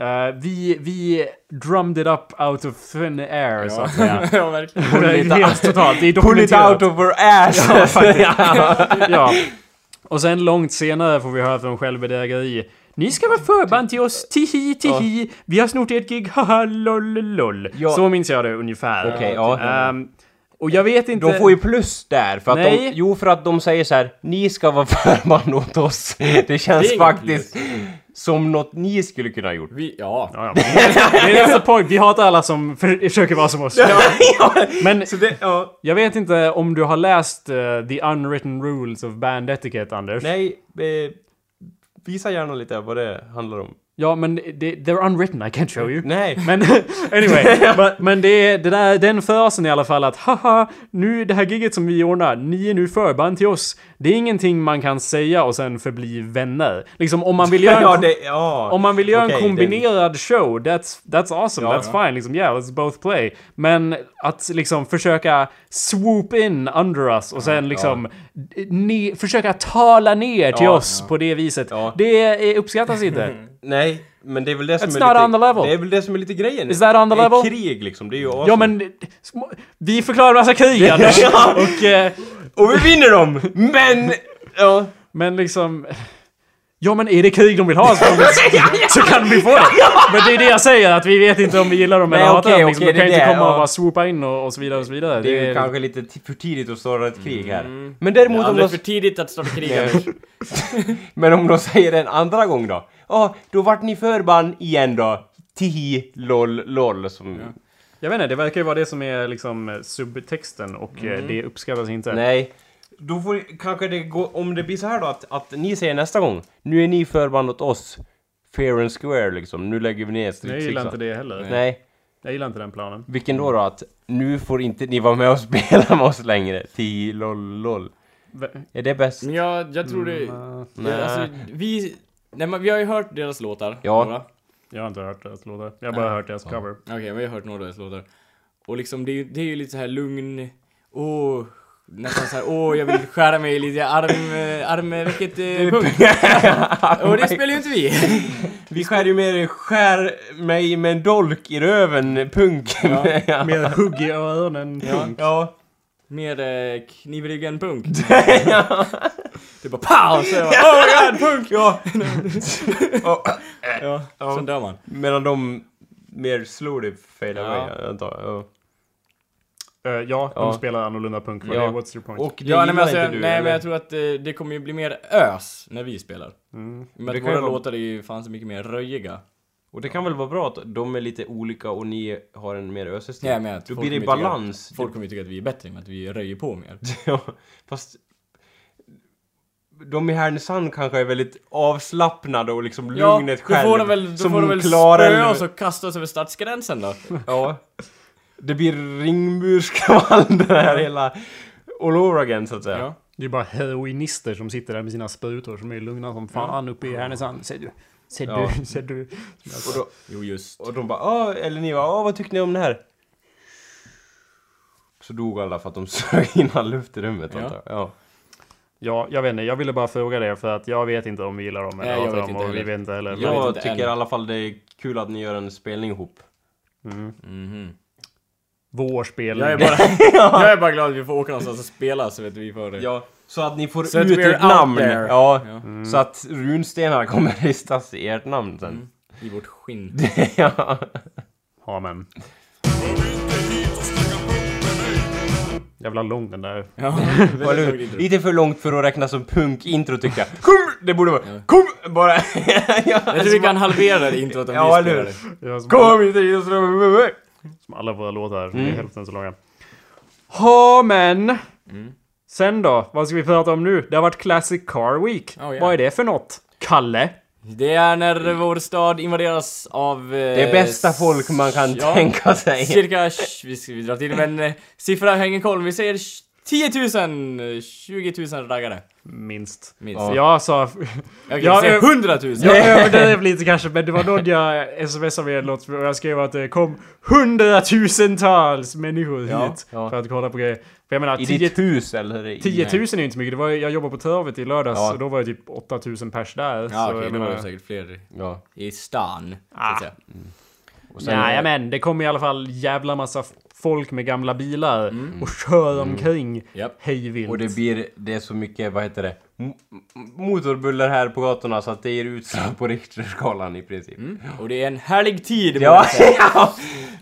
Speaker 1: Eh, vi, vi drummed it up out of thin air, så att säga.
Speaker 2: ja, verkligen.
Speaker 1: Det är Helt totalt. Det är
Speaker 3: Pull it
Speaker 1: dokumenterat.
Speaker 3: out of our ass! Ja,
Speaker 1: ja. Och sen långt senare får vi höra från självbedrägeri. Ni ska vara förband till oss, tihi tihi. Vi har snott ert gig, haha lol lol.
Speaker 3: Ja.
Speaker 1: Så minns jag det ungefär.
Speaker 3: Okej, ja.
Speaker 1: Ehm, och jag vet inte...
Speaker 3: De får ju plus där för att de,
Speaker 1: Nej.
Speaker 3: jo för att de säger så här, ni ska vara förband åt oss. Det känns
Speaker 2: Det är inget
Speaker 3: faktiskt som något ni skulle kunna ha gjort.
Speaker 2: Vi, ja.
Speaker 1: Ja, ja. Det är nästa point. Vi hatar alla som för- försöker vara som oss. Men jag vet inte om du har läst eh, The Unwritten Rules of Band Etiquette, Anders?
Speaker 3: Nej, eh, visa gärna lite vad det handlar om.
Speaker 1: Ja, men det, they're unwritten, I can't show you.
Speaker 3: Nej.
Speaker 1: Men anyway, men, men det är det där, den frasen i alla fall att haha, nu det här giget som vi ordnar, ni är nu förband till oss. Det är ingenting man kan säga och sen förbli vänner. Liksom om man vill göra en,
Speaker 3: Ja, det, ja.
Speaker 1: om man vill göra
Speaker 3: Okej,
Speaker 1: en
Speaker 3: det-
Speaker 1: kombinerad show, that's, that's awesome, that's fine, liksom yeah, let's both play. Men att liksom försöka swoop in under us och sen liksom ne- försöka tala ner till
Speaker 3: Ja,
Speaker 1: oss på det viset,
Speaker 3: Ja.
Speaker 1: det eh, uppskattas inte.
Speaker 3: Nej, men det är väl det som
Speaker 1: It's
Speaker 3: är
Speaker 1: not
Speaker 3: lite...
Speaker 1: on the level.
Speaker 3: Det är väl det som är lite grejen.
Speaker 1: Is that on the
Speaker 3: Det är
Speaker 1: level?
Speaker 3: krig liksom, det är ju
Speaker 1: Ja
Speaker 3: awesome.
Speaker 1: men, små- vi förklarar massa krig Anders. Och, eh,
Speaker 3: Och vi vinner dem! Men... Ja.
Speaker 1: men liksom... Ja men är det krig de vill ha så, så kan vi få det! Men det är det jag säger, att vi vet inte om vi gillar dem eller
Speaker 3: Nej,
Speaker 1: hatar
Speaker 3: okej,
Speaker 1: dem. Liksom.
Speaker 3: okej,
Speaker 1: de kan
Speaker 3: det
Speaker 1: ju inte
Speaker 3: är det,
Speaker 1: komma och
Speaker 3: ja.
Speaker 1: bara swoopa in och, och så vidare och så vidare.
Speaker 3: Det är ju kanske lite t- för tidigt att starta ett krig här. Men däremot om de...
Speaker 2: Alldeles för tidigt att starta krig.
Speaker 3: Nej.
Speaker 2: Anders.
Speaker 3: Men om de säger en andra gång då? Ja, då vart ni förband igen då. Tihi, lol, lol. Som...
Speaker 1: Jag vet inte, det verkar ju vara det som är liksom eh, subtexten och eh, det uppskattas inte.
Speaker 3: Mm. Nej. Då får kanske det gå, om det blir så här då att, att ni säger nästa gång. Nu är ni förband åt oss. Fair and square liksom. Nu lägger vi ner
Speaker 1: jag gillar inte det heller.
Speaker 3: typ Nej.
Speaker 1: Jag gillar inte den planen.
Speaker 3: Vilken då då? Att nu får inte ni vara med och spela med oss längre. Tihi, lol, lol.
Speaker 1: Vä-
Speaker 3: Är det bäst?
Speaker 2: Men jag, jag tror det...
Speaker 3: Mm, nej.
Speaker 2: Alltså, vi... Nej, men vi har ju hört deras låtar.
Speaker 3: Ja.
Speaker 2: några.
Speaker 1: Jag har inte hört deras låtar. Jag har bara hört deras cover.
Speaker 2: Okej, men jag har hört några av deras låtar. Och liksom, det, är ju- det är ju lite så här lugn... Åh... Nästan såhär, åh jag vill skära mig lite i arm... eh, Armvecket... Eh, punkt. och det spelar ju inte vi.
Speaker 3: Vi skär ju mer skär mig med en dolk i röven, punk. Ja.
Speaker 1: Mer hugg i öronen.
Speaker 3: ja.
Speaker 2: Mer eh, kniv i ryggen, punkt. typ bara pow! Så jag bara, oh my god, punkt!
Speaker 3: ja.
Speaker 2: Ja, Sen dör man.
Speaker 3: Medan de mer slowly fade away,
Speaker 2: Ja.
Speaker 3: jag antar jag.
Speaker 1: Eh, ja, de
Speaker 3: Ja.
Speaker 1: spelar annorlunda punk. Vad
Speaker 3: Ja.
Speaker 1: är- What's your point?
Speaker 3: Och det
Speaker 2: Ja, nej, men
Speaker 3: gillar
Speaker 2: alltså,
Speaker 3: inte
Speaker 2: jag,
Speaker 3: du,
Speaker 2: nej
Speaker 3: eller?
Speaker 2: men jag tror att eh, det kommer ju bli mer ös när vi spelar. Men
Speaker 3: Mm. Det
Speaker 2: att
Speaker 3: kan ju
Speaker 2: våra
Speaker 3: vara-
Speaker 2: låtar är ju fan så mycket mer röjiga.
Speaker 3: Och det kan väl vara bra att de är lite olika och ni har en mer ösig
Speaker 2: Nej, men att
Speaker 3: Då
Speaker 2: folk
Speaker 3: blir det
Speaker 2: kommer tycka
Speaker 3: balans.
Speaker 2: Att, folk kommer ju tycka att vi är bättre, men att vi röjer på mer.
Speaker 3: Ja, fast... De i Härnösand kanske är väldigt avslappnade och liksom lugnet själv.
Speaker 2: då får de väl, då
Speaker 3: som
Speaker 2: får de väl
Speaker 3: klarar
Speaker 2: spöa
Speaker 3: det.
Speaker 2: oss och kasta oss över stadsgränsen då.
Speaker 3: Ja. Det blir ringmursskvaller här hela... All over again så att säga.
Speaker 2: Ja.
Speaker 1: Det är bara heroinister som sitter där med sina sprutor som är lugna som fan uppe i Härnösand. Ser du? Ser
Speaker 3: Ja.
Speaker 1: du? Ser du?
Speaker 3: Och, då,
Speaker 2: Jo, just.
Speaker 3: och de bara ah, eller ni bara ah, vad tyckte ni om det här? Så dog alla för att de sög in all luft i rummet
Speaker 2: Ja.
Speaker 3: antar jag. Ja.
Speaker 1: Ja, jag vet inte. Jag ville bara fråga det för att jag vet inte om vi gillar dem eller
Speaker 2: Nej, jag
Speaker 1: hatar
Speaker 2: vet
Speaker 1: dem
Speaker 2: inte
Speaker 1: och vi
Speaker 2: heller.
Speaker 1: vet inte heller.
Speaker 2: vet
Speaker 3: Jag
Speaker 2: inte
Speaker 3: tycker
Speaker 2: än.
Speaker 3: i alla fall det är kul att ni gör en spelning ihop.
Speaker 1: Mm.
Speaker 2: Mhm.
Speaker 1: Vår spelning.
Speaker 2: Jag är, bara, jag är bara glad att vi får åka någonstans och spela så vet vi får det.
Speaker 3: Ja, så att ni får
Speaker 2: Så att
Speaker 3: ut
Speaker 2: we are
Speaker 3: ert
Speaker 2: out
Speaker 3: namn.
Speaker 2: there.
Speaker 3: Ja,
Speaker 2: Ja.
Speaker 3: Så att runstenarna kommer ristas i ert namn sen.
Speaker 2: Mm. I vårt skinn.
Speaker 3: ja.
Speaker 1: Amen. Jävla lång den där.
Speaker 2: Ja,
Speaker 3: Var
Speaker 2: väldigt långt
Speaker 3: det,
Speaker 2: intro.
Speaker 3: lite för långt för att räknas som punkintro tycker jag. Kom! Det borde vara.
Speaker 2: Ja. Eh,
Speaker 3: Kom! Bara. ja,
Speaker 2: Jag tror Alltså, vi kan halvera det introt om
Speaker 3: Ja,
Speaker 2: vi
Speaker 3: eller
Speaker 2: spelar
Speaker 3: hur?
Speaker 2: det.
Speaker 1: Det var som,
Speaker 3: Kom inte hit och slå
Speaker 1: som alla våra låtar som är
Speaker 3: Mm.
Speaker 1: hälften så långa. Amen. Sen då? Vad ska vi prata om nu? Det har varit Classic Car Week.
Speaker 2: Oh, ja.
Speaker 1: Vad är det för något? Kalle?
Speaker 2: Det är när vår stad invaderas av... Eh,
Speaker 3: Det bästa folk man kan
Speaker 2: ja,
Speaker 3: tänka sig.
Speaker 2: Cirka, sh- vi, ska, vi drar till med en eh, siffra, häng en koll. Vi säger sh- 10 000, eh, 20 000 raggare.
Speaker 1: Minst.
Speaker 2: Minst.
Speaker 1: Så jag sa...
Speaker 2: Okej,
Speaker 1: Ja,
Speaker 2: vi säger
Speaker 1: eh,
Speaker 2: 100 000!
Speaker 1: Jag överdrev lite kanske, men det var någon jag smsade med en låt och jag skrev att det kom hundratusentals människor hit
Speaker 2: Ja,
Speaker 3: ja.
Speaker 1: för att kolla på grejer. För jag menar,
Speaker 3: I
Speaker 1: 10
Speaker 3: ditt hus eller? i-
Speaker 1: 10 000 är ju inte så mycket. Det var, ju- jag jobbade på Törvet i lördags
Speaker 3: Ja.
Speaker 1: och då var det typ 8 000 pers där.
Speaker 2: Ja,
Speaker 1: så
Speaker 2: okej,
Speaker 1: jag
Speaker 2: då var det
Speaker 1: menar,
Speaker 2: säkert fler
Speaker 3: Ja.
Speaker 2: i stan. så att
Speaker 1: Ah.
Speaker 2: säga.
Speaker 3: Och sen,
Speaker 1: Nej, men det kom i alla fall jävla massa f- folk med gamla bilar och kör omkring
Speaker 2: Japp.
Speaker 1: hej vilt.
Speaker 3: och det blir, det är så mycket, vad heter det, m- m- motorbuller här på gatorna så att det ger utslag på Richterskalan i princip.
Speaker 2: Och det är en härlig tid! må
Speaker 3: Ja,
Speaker 2: jag säga.
Speaker 3: ja,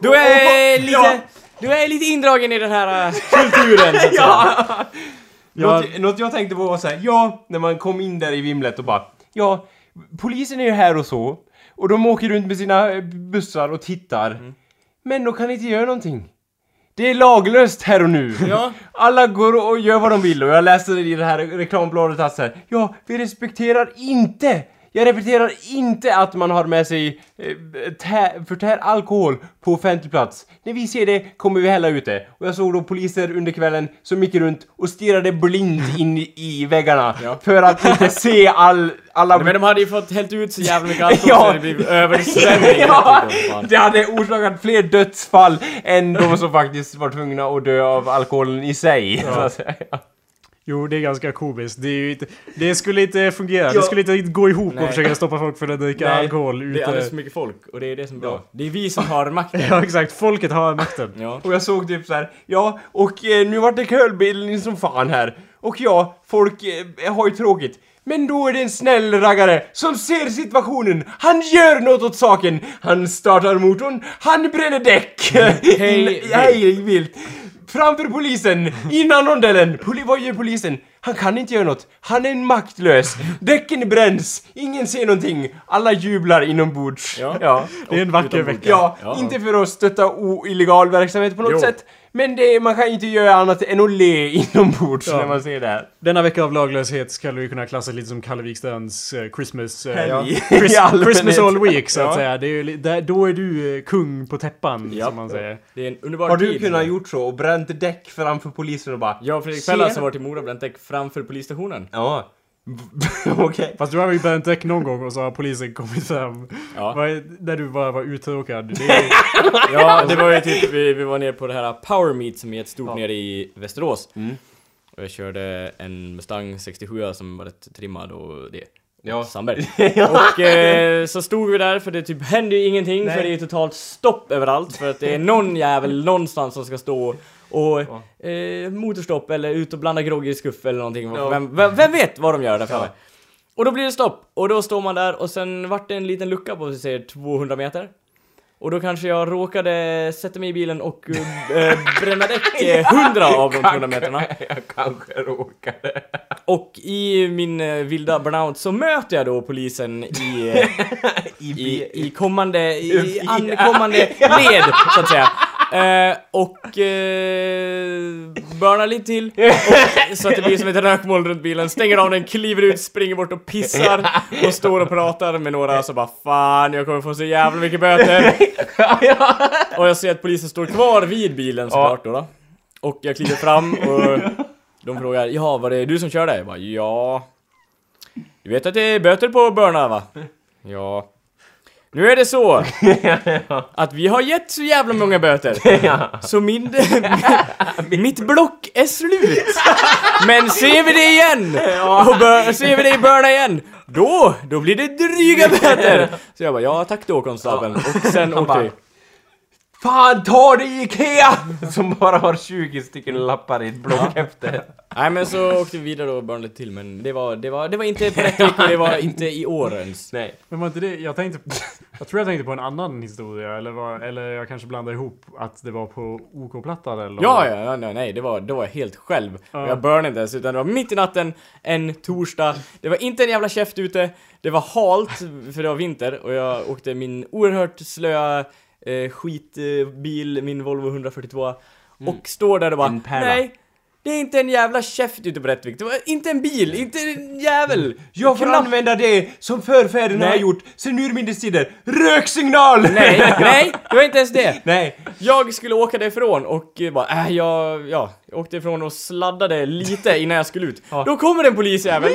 Speaker 2: Du är
Speaker 3: Ja.
Speaker 2: lite... Du är lite indragen i den här eh, kulturen så att säga.
Speaker 1: Ja.
Speaker 3: Något, något jag tänkte på var såhär, ja, när man kom in där i vimlet och bara, ja, polisen är ju här och så, och de åker runt med sina eh, bussar och tittar, men de kan inte göra någonting. Det är laglöst här och nu.
Speaker 2: Ja.
Speaker 3: Alla går och gör vad de vill och jag läste det i det här reklambladet att så här, ja, vi respekterar inte jag repeterar inte att man har med sig eh, tä- förtär alkohol på offentlig plats. När vi ser det kommer vi hälla ut det. Och jag såg då poliser under kvällen som gick runt och stirrade blint in i väggarna
Speaker 2: Ja.
Speaker 3: för att inte se all, alla...
Speaker 2: Men de hade ju fått hällt ut så jävla mycket alkohol
Speaker 3: Ja.
Speaker 2: så det blev översvämning.
Speaker 3: ja,
Speaker 2: Fan.
Speaker 3: det hade orsakat fler dödsfall än de som faktiskt var tvungna att dö av alkoholen i sig. Så att säga.
Speaker 1: Jo, det är ganska komiskt. Det, är ju inte, det skulle inte fungera. Det skulle inte riktigt gå ihop
Speaker 2: Nej.
Speaker 1: att försöka stoppa folk från att dricka
Speaker 2: Nej,
Speaker 1: alkohol
Speaker 2: Det är alldeles
Speaker 1: ute.
Speaker 2: för mycket folk och det är det som är bra. Det är vi som har makten.
Speaker 1: Ja, exakt. Folket har makten.
Speaker 2: Ja.
Speaker 3: Och jag såg typ så här, ja, och eh, nu vart det kölbildning som fan här. Och ja, folk eh, har ju tråkigt. Men då är det en snäll raggare som ser situationen. Han gör något åt saken. Han startar motorn, han bränner däck.
Speaker 2: Hej,
Speaker 3: In- Hej vilt. Framför polisen, innan rondellen. Poli- vad gör polisen? Han kan inte göra något. Han är maktlös. Däcken bränns. Ingen ser någonting. Alla jublar inombords.
Speaker 2: Ja.
Speaker 3: ja.
Speaker 1: Det är en vacker
Speaker 2: Utom-
Speaker 1: vecka.
Speaker 3: Ja,
Speaker 2: Ja.
Speaker 3: inte för att stötta o- illegal verksamhet på något
Speaker 2: Jo.
Speaker 3: sätt. Men det, man kan ju inte göra annat än att le inombords när man ser det här.
Speaker 1: Denna vecka av laglöshet skulle vi kunna klassa lite som Kalle Wikstrands eh, Christmas... eh,
Speaker 3: Helg.
Speaker 1: ja,
Speaker 3: I
Speaker 1: Chris,
Speaker 3: allmänhet.
Speaker 1: Christmas all week, så att
Speaker 3: Ja.
Speaker 1: säga. Det är ju, li- där, då är du eh, kung på täppan,
Speaker 2: Ja.
Speaker 1: som man säger.
Speaker 2: Det är en underbar
Speaker 3: Har
Speaker 2: tid.
Speaker 3: du kunnat gjort så och bränt däck framför polisen och bara...
Speaker 2: Jag och Fredrik alltså
Speaker 3: Ser-
Speaker 2: Pellas har varit i Mora och bränt däck framför polisstationen.
Speaker 3: Ja. Okej.
Speaker 1: Fast du har ju bränt däck någon gång och så har polisen kommit fram.
Speaker 2: Ja.
Speaker 1: Vad är- Där du bara var uttråkad. Det är,
Speaker 2: Ja, det var ju typ, vi, vi var nere på det här Power Meet som är ett stort nere i Västerås. Och jag körde en Mustang 67 som var rätt trimmad och det.
Speaker 3: Ja.
Speaker 2: Sandberg. Och eh, så stod vi där för det typ hände ju ingenting för det är ju totalt stopp överallt för att det är någon jävel någonstans som ska stå och eh, motorstopp eller ut och blanda grogg i skuff eller någonting.
Speaker 3: Ja.
Speaker 2: Vem, vem, vem vet vad de gör där framme? Och då blir det stopp och då står man där och sen vart det en liten lucka på vi säger 200 meter. Och då kanske jag råkade sätta mig i bilen och eh, bränna däck eh, 100 av de 200 meterna.
Speaker 3: Jag kanske råkade.
Speaker 2: Och i min eh, vilda burnout så möter jag då polisen i, eh, i, i kommande, i ankommande led så att säga. Eh, och eh, burnar lite till, och, så att det blir som ett rökmoln runt bilen, stänger av den, kliver ut, springer bort och pissar och står och pratar med några så bara Fan, jag kommer få så jävla mycket böter! Och jag ser att polisen står kvar vid bilen såklart då, då. Och jag kliver fram och de frågar Ja, var det du som körde? Jag bara ja Du vet att det är böter på börna va? Ja Nu är det så Att vi har gett så jävla många böter Så min... mitt block är slut Men ser vi det igen och bör, ser vi det i börna igen Då, då blir det dryga böter Så jag bara ja tack då konstapeln och sen åkte vi
Speaker 3: Fan, ta dig IKEA! Som bara har 20 stycken lappar i ett block efter.
Speaker 2: Nej men så åkte vi vidare och burnade lite till men det var, det var, det var inte på rätt vecka, det var inte i år ens.
Speaker 3: Nej.
Speaker 1: Men var inte det, jag tänkte, jag tror jag tänkte på en annan historia eller, var, eller jag kanske blandade ihop att det var på OK-plattan eller?
Speaker 2: Ja, ja, ja, nej, nej, det var, då var jag helt själv.
Speaker 1: Ja.
Speaker 2: Jag burnade inte ens, utan det var mitt i natten, en torsdag. Det var inte en jävla käft ute, det var halt, för det var vinter, och jag åkte min oerhört slöa eh, skitbil, min Volvo 142, och står där och bara
Speaker 3: Mm. En pärla.
Speaker 2: nej, det är inte en jävla käft ute på Rättvik, det var inte en bil, inte en jävel!
Speaker 3: Jag får
Speaker 2: Knappt-
Speaker 3: använda det som förfäderna
Speaker 2: Nej.
Speaker 3: har gjort sen urminnes tider. Röksignal!
Speaker 2: Nej, nej, det var inte ens det!
Speaker 3: Nej.
Speaker 2: Jag skulle åka därifrån och eh, bara, äh, jag, ja, jag åkte ifrån och sladdade lite innan jag skulle ut. Då kommer en polisjävel.